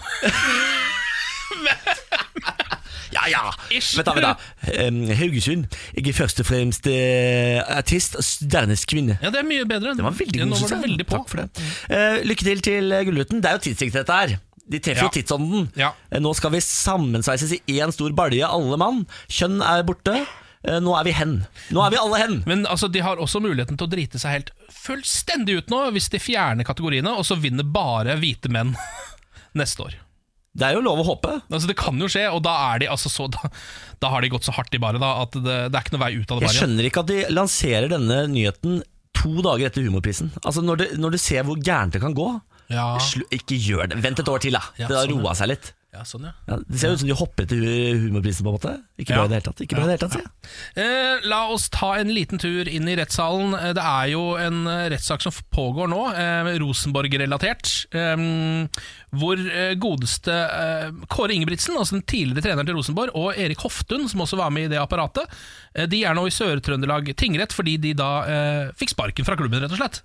Ja, Ah, ja. Ish. Vent da, vent da. Em, Haugesund. Jeg er først og fremst eh, artist, og dernest kvinne. Ja, det er mye bedre. Det var veldig ja, god, Nå synes var du jeg. veldig på. Takk for det. Eh, lykke til til eh, Gullruten. Det er jo tidsriktig, dette her. De treffer jo Ja. tidsånden. Ja. Eh, Nå skal vi sammensveises i én stor balje, alle mann. Kjønn er borte. Eh, Nå er vi hen. Nå er vi alle hen. Men altså, de har også muligheten til å drite seg helt fullstendig ut nå, hvis de fjerner kategoriene, og så vinner bare hvite menn neste år. Det er jo lov å håpe. Altså, Det kan jo skje, og da, er de, altså, så, da, da har de gått så hardt i baret da, at det, det er ikke noe vei ut av Jeg det baret. skjønner ikke at de lanserer denne nyheten to dager etter humorprisen. Altså Når du, når du ser hvor gærent det kan gå, Ja, slu- ikke gjør det. Vent et år til, da. Ja, det har sånn, ja. roa seg litt. ja, sånn, ja. Ja, det ser jo ut som de hopper til hu- humorprisen, på en måte. Ikke bra Ja. i det hele tatt. Ikke bra i det hele tatt, sier jeg. Eh, la oss ta en liten tur inn i rettssalen. Eh, Det er jo en eh, rettssak som pågår nå, eh, Rosenborg-relatert, eh, hvor eh, godeste eh, Kåre Ingebrigtsen, altså den tidligere treneren til Rosenborg, og Erik Hoftun, som også var med i det apparatet, eh, de er nå i Sør-Trøndelag tingrett fordi de da eh, fikk sparken fra klubben, rett og slett.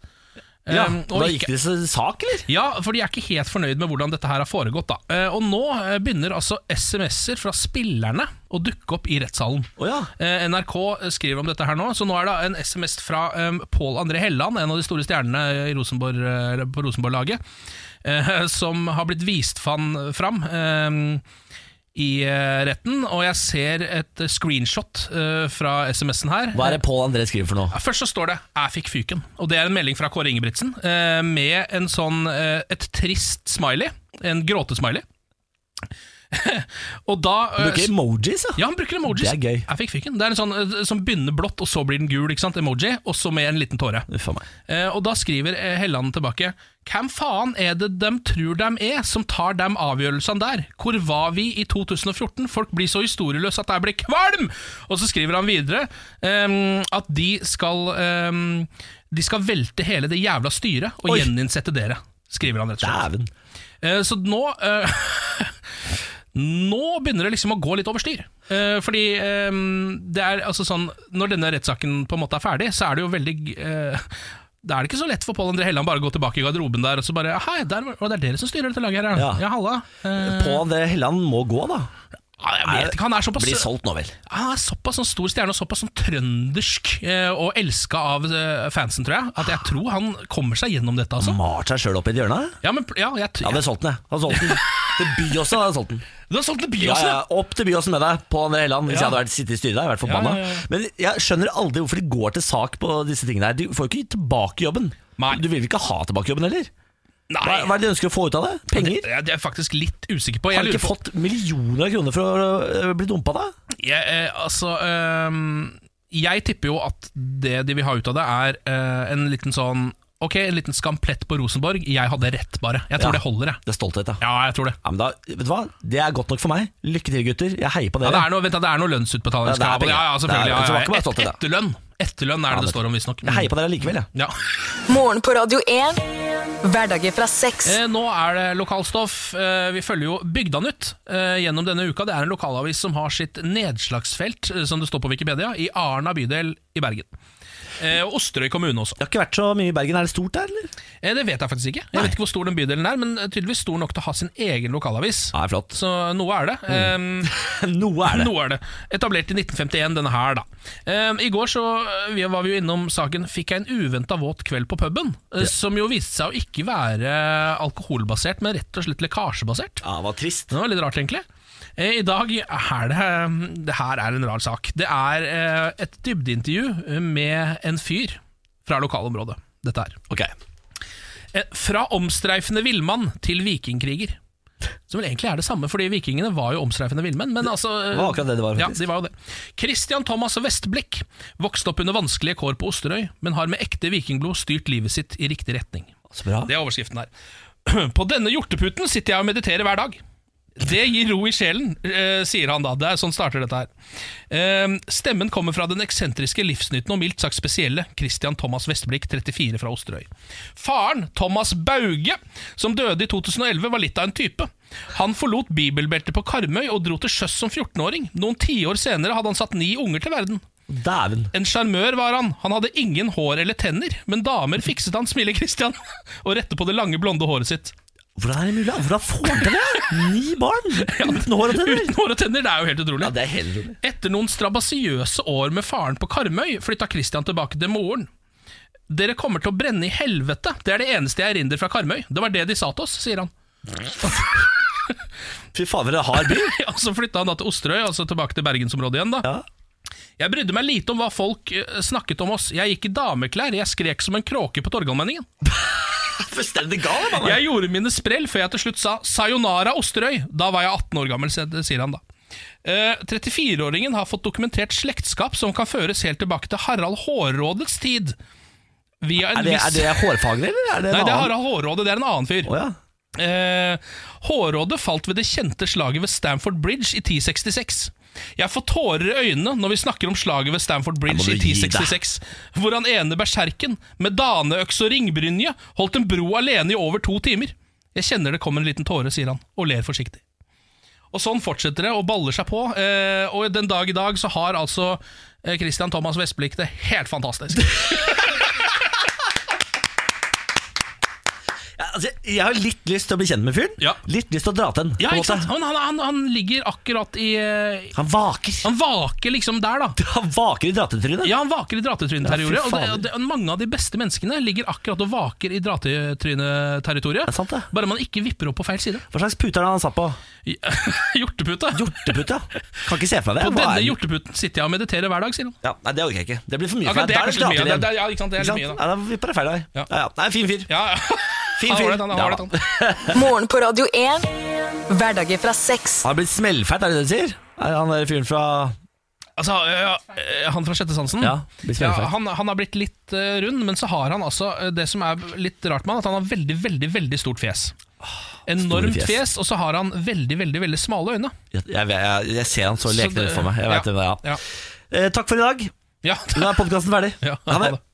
Ja, Eh, og da ikke- gikk det så sak, eller? ja, for de er ikke helt fornøyd med hvordan dette her har foregått. da Eh, Og nå eh, begynner altså SMS-er fra spillerne å dukke opp i rettssalen. Å ja. Eh, NRK skriver om dette her nå, så nå er det en SMS fra um, Pål André Helland, en av de store stjernene i Rosenborg, eh, på Rosenborg-laget, eh, som har blitt vist fan, fram. eh, i eh, retten, og jeg ser et screenshot eh, fra SMS-en her. Hva er det Pål André skriver for noe? Ja, Først så står det 'Jeg fikk fyken', og det er en melding fra Kåre Ingebrigtsen eh, med en sånn, eh, et trist smiley, en gråtesmiley. og da eh, Bruker emojis, ja. ja, han bruker emojis. Det er gøy. Jeg fikk fyken. Det er en sånn eh, som begynner blått, og så blir den gul, ikke sant? emoji, og så med en liten tåre. Uff a meg. Eh, og da skriver eh, Helland tilbake Hvem faen er det dem tror dem er som tar dem avgjørelsene der? Hvor var vi i 2014? Folk blir så historieløse at jeg blir kvalm! Og så skriver han videre ehm, at de skal ehm, De skal velte hele det jævla styret og Oi. gjeninnsette dere. Skriver han rett og slett. Dæven. Eh, Så nå eh, Nå begynner det liksom å gå litt over styr. Eh, Fordi eh, det er altså sånn Når denne rettssaken på en måte er ferdig, så er det jo veldig eh, da er det ikke så lett for Pål André Helland bare å gå tilbake i garderoben der og så bare Hei, der, var- og det er dere som styrer dette laget her, Ja. ja. Ja, halla. Eh, Pål André Helland må gå, da. ah, jeg vet ikke, han er såpass Blir solgt nå, vel. Han er såpass sånn stor stjerne og såpass sånn trøndersk eh, og elska av eh, fansen, tror jeg, at jeg tror han kommer seg gjennom dette, altså. Malt seg sjøl opp i et hjørne? Ja, men, ja, jeg, Mm. Ja, det er solgt den, jeg. Han solgt den. Til Byåsen hadde jeg solgt den. Du har solgt til Ja, Byåsen, ja, ja! opp til Byåsen med deg, Pål André Helland, hvis Ja. jeg hadde vært sittet i styret der. Jeg hadde vært Ja, forbanna. ja, ja. Men jeg skjønner aldri hvorfor de går til sak på disse tingene her. De får jo ikke tilbake jobben. Nei. Du vil vel ikke ha tilbake jobben heller? Nei. Hva, hva er det de ønsker å få ut av det? Penger? Det, det er jeg faktisk litt usikker på. Har Jeg de lurer ikke på fått millioner av kroner for å øh, bli dumpa, da? jeg, eh, altså, ehm, jeg tipper jo at det de vil ha ut av det, er eh, en liten sånn Ok, en liten skamplett på Rosenborg. Jeg hadde rett, bare. Jeg tror Ja. det holder, jeg. Det er stolthet, ja. Ja, jeg tror det. ja men da, vet du hva? Det er godt nok for meg. Lykke til, gutter. Jeg heier på Ja, dere. det er noe, vent, da, det er noe Ja, lønnsutbetalingskrav. det er penger. Ja, ja, selvfølgelig. Det er- Ja, så var ja, ikke bare Et, stolthet, da. etterlønn. Etterlønn er det det står om, visstnok. Jeg heier på dere likevel, jeg. Ja. Morgen på Radio 1. Hverdager fra seks. Eh, nå er det lokalstoff. Eh, vi følger jo Bygdanytt eh, gjennom denne uka. Det er en lokalavis som har sitt nedslagsfelt, eh, som det står på Wikipedia, i Arna bydel i Bergen. Eh, og Osterøy kommune også. Jeg har ikke vært så mye i Bergen. Er det stort der, eller? Eh, det vet jeg faktisk ikke. Jeg vet ikke hvor stor den bydelen er, men eh, tydeligvis stor nok til å ha sin egen lokalavis. Nei, flott. Så noe er det. Eh, Noe Mm. er det. Nå er det. Etablert i 1951, denne her, da. Ehm, I går så eh, vi var vi jo innom saken 'Fikk jeg en uventa våt kveld på puben?', eh, som jo viste seg å ikke være alkoholbasert, men rett og slett lekkasjebasert. Ja, det var trist. Det var litt rart, egentlig. Eh, I dag er det eh, Det her er en rar sak. Det er eh, et dybdeintervju eh, med en fyr fra lokalområdet. Dette her. Ok. Eh, Fra omstreifende villmann til vikingkriger. Som vel egentlig er det samme, fordi vikingene var jo omstreifende villmenn. Men altså eh, var akkurat det det var, Ja, faktisk. de var jo det. Christian Thomas Vestblikk vokste opp under vanskelige kår på Osterøy, men har med ekte vikingblod styrt livet sitt i riktig retning. Så bra. Det er overskriften her. På denne hjorteputen sitter jeg og mediterer hver dag. Det gir ro i sjelen, eh, sier han da. Det er sånn starter dette her. Eh, stemmen kommer fra den eksentriske, livsnytende og mildt sagt spesielle Christian Thomas Vestblikk, 34 fra Osterøy. Faren, Thomas Bauge, som døde i 2011, var litt av en type. Han forlot bibelbeltet på Karmøy og dro til sjøs som 14-åring. Noen tiår senere hadde han satt ni unger til verden. Dæven. En sjarmør var han. Han hadde ingen hår eller tenner, men damer fikset han, smiler Christian, og rette på det lange, blonde håret sitt. Hvordan er det mulig? Hvordan får han til det? Ni barn uten hår og Uten tenner? hår og tenner, det er jo helt utrolig. Ja, det er helt rolig. Etter noen strabasiøse år med faren på Karmøy, flytta Christian tilbake til moren. Dere kommer til å brenne i helvete, det er det eneste jeg erindrer fra Karmøy. Det var det de sa til oss, sier han. Fy faen, for en hard by. Ja, så flytta han da til Osterøy, altså tilbake til bergensområdet igjen, da. Ja. Jeg brydde meg lite om hva folk eh, snakket om oss. Jeg gikk i dameklær, jeg skrek som en kråke på Torgallmenningen. Fullstendig gal, mann. Jeg gjorde mine sprell før jeg til slutt sa 'Sayonara Osterøy'. Da var jeg 18 år gammel, sier- sier han da. Eh, 34-åringen har fått dokumentert slektskap som kan føres helt tilbake til Harald Hårrådets tid. Via en Er det, er viss... det hårfaglig, eller er det en Nei, det er annen? Harald Hårråde, det er en annen fyr. Å, ja. Eh, Hårrådet falt ved det kjente slaget ved Stamford Bridge i 1066. Jeg får tårer i øynene når vi snakker om slaget ved Stamford Bridge Nei, i må du gi deg. 1066, hvor han ene berserken med daneøks og ringbrynje holdt en bro alene i over to timer. Jeg kjenner det kom en liten tåre, sier han, og ler forsiktig. Og sånn fortsetter det og baller seg på, eh, og den dag i dag så har altså eh, Christian Thomas Vestblikk det helt fantastisk. Ja, altså, jeg har litt lyst til å bli kjent med fyren. Ja. Litt lyst til å dra til den. Ja, på en ikke sant? måte. Han, han, han, han ligger akkurat i eh, Han vaker. Han vaker liksom der, da. Han vaker i dratetrynet. Ja, han vaker i dratetryneterritoriet. Ja, fy og det, fader. og det, og mange av de beste menneskene ligger akkurat og vaker i dratetryneterritoriet. er sant, det. Bare man ikke vipper opp på feil side. Hva slags pute er det han satt på? Hjortepute. Hjortepute? ja. Kan ikke se for meg det. Hva På er denne den? hjorteputen sitter jeg og mediterer hver dag, sier han. Ja, nei, det orker jeg ikke. Det blir for mye. for Akkurat det er meg. Da drater kanskje litt mye. Det, det, igjen. ja, ikke sant, det er Ikke litt mye, sant? da. Ja, da vipper det feil vei. Ja. Ja. Ja, Nei, fin fyr. Ja, ja. Fin Han fyr. har det, han har Ja, det, da. han. Morgen på Radio 1. Hverdager fra seks. Han har blitt smellfeit, er det det du sier? Er han der fyren fra Altså, ja, ja, han fra Sjette sansen Ja, blir ja, smellfeit. han, han har blitt litt eh, rund, men så har han altså eh, det som er litt rart med han, at han har veldig, veldig veldig stort fjes. Enormt Ah, fjes. fjes. og så har han veldig, veldig veldig smale øyne. Jeg, jeg, jeg, jeg ser han så leken det- ut for meg. Jeg vet ja, hvem det er. Ja. Eh, takk for i dag. Ja. Nå er podkasten ferdig. Ja, Ha ha det. det.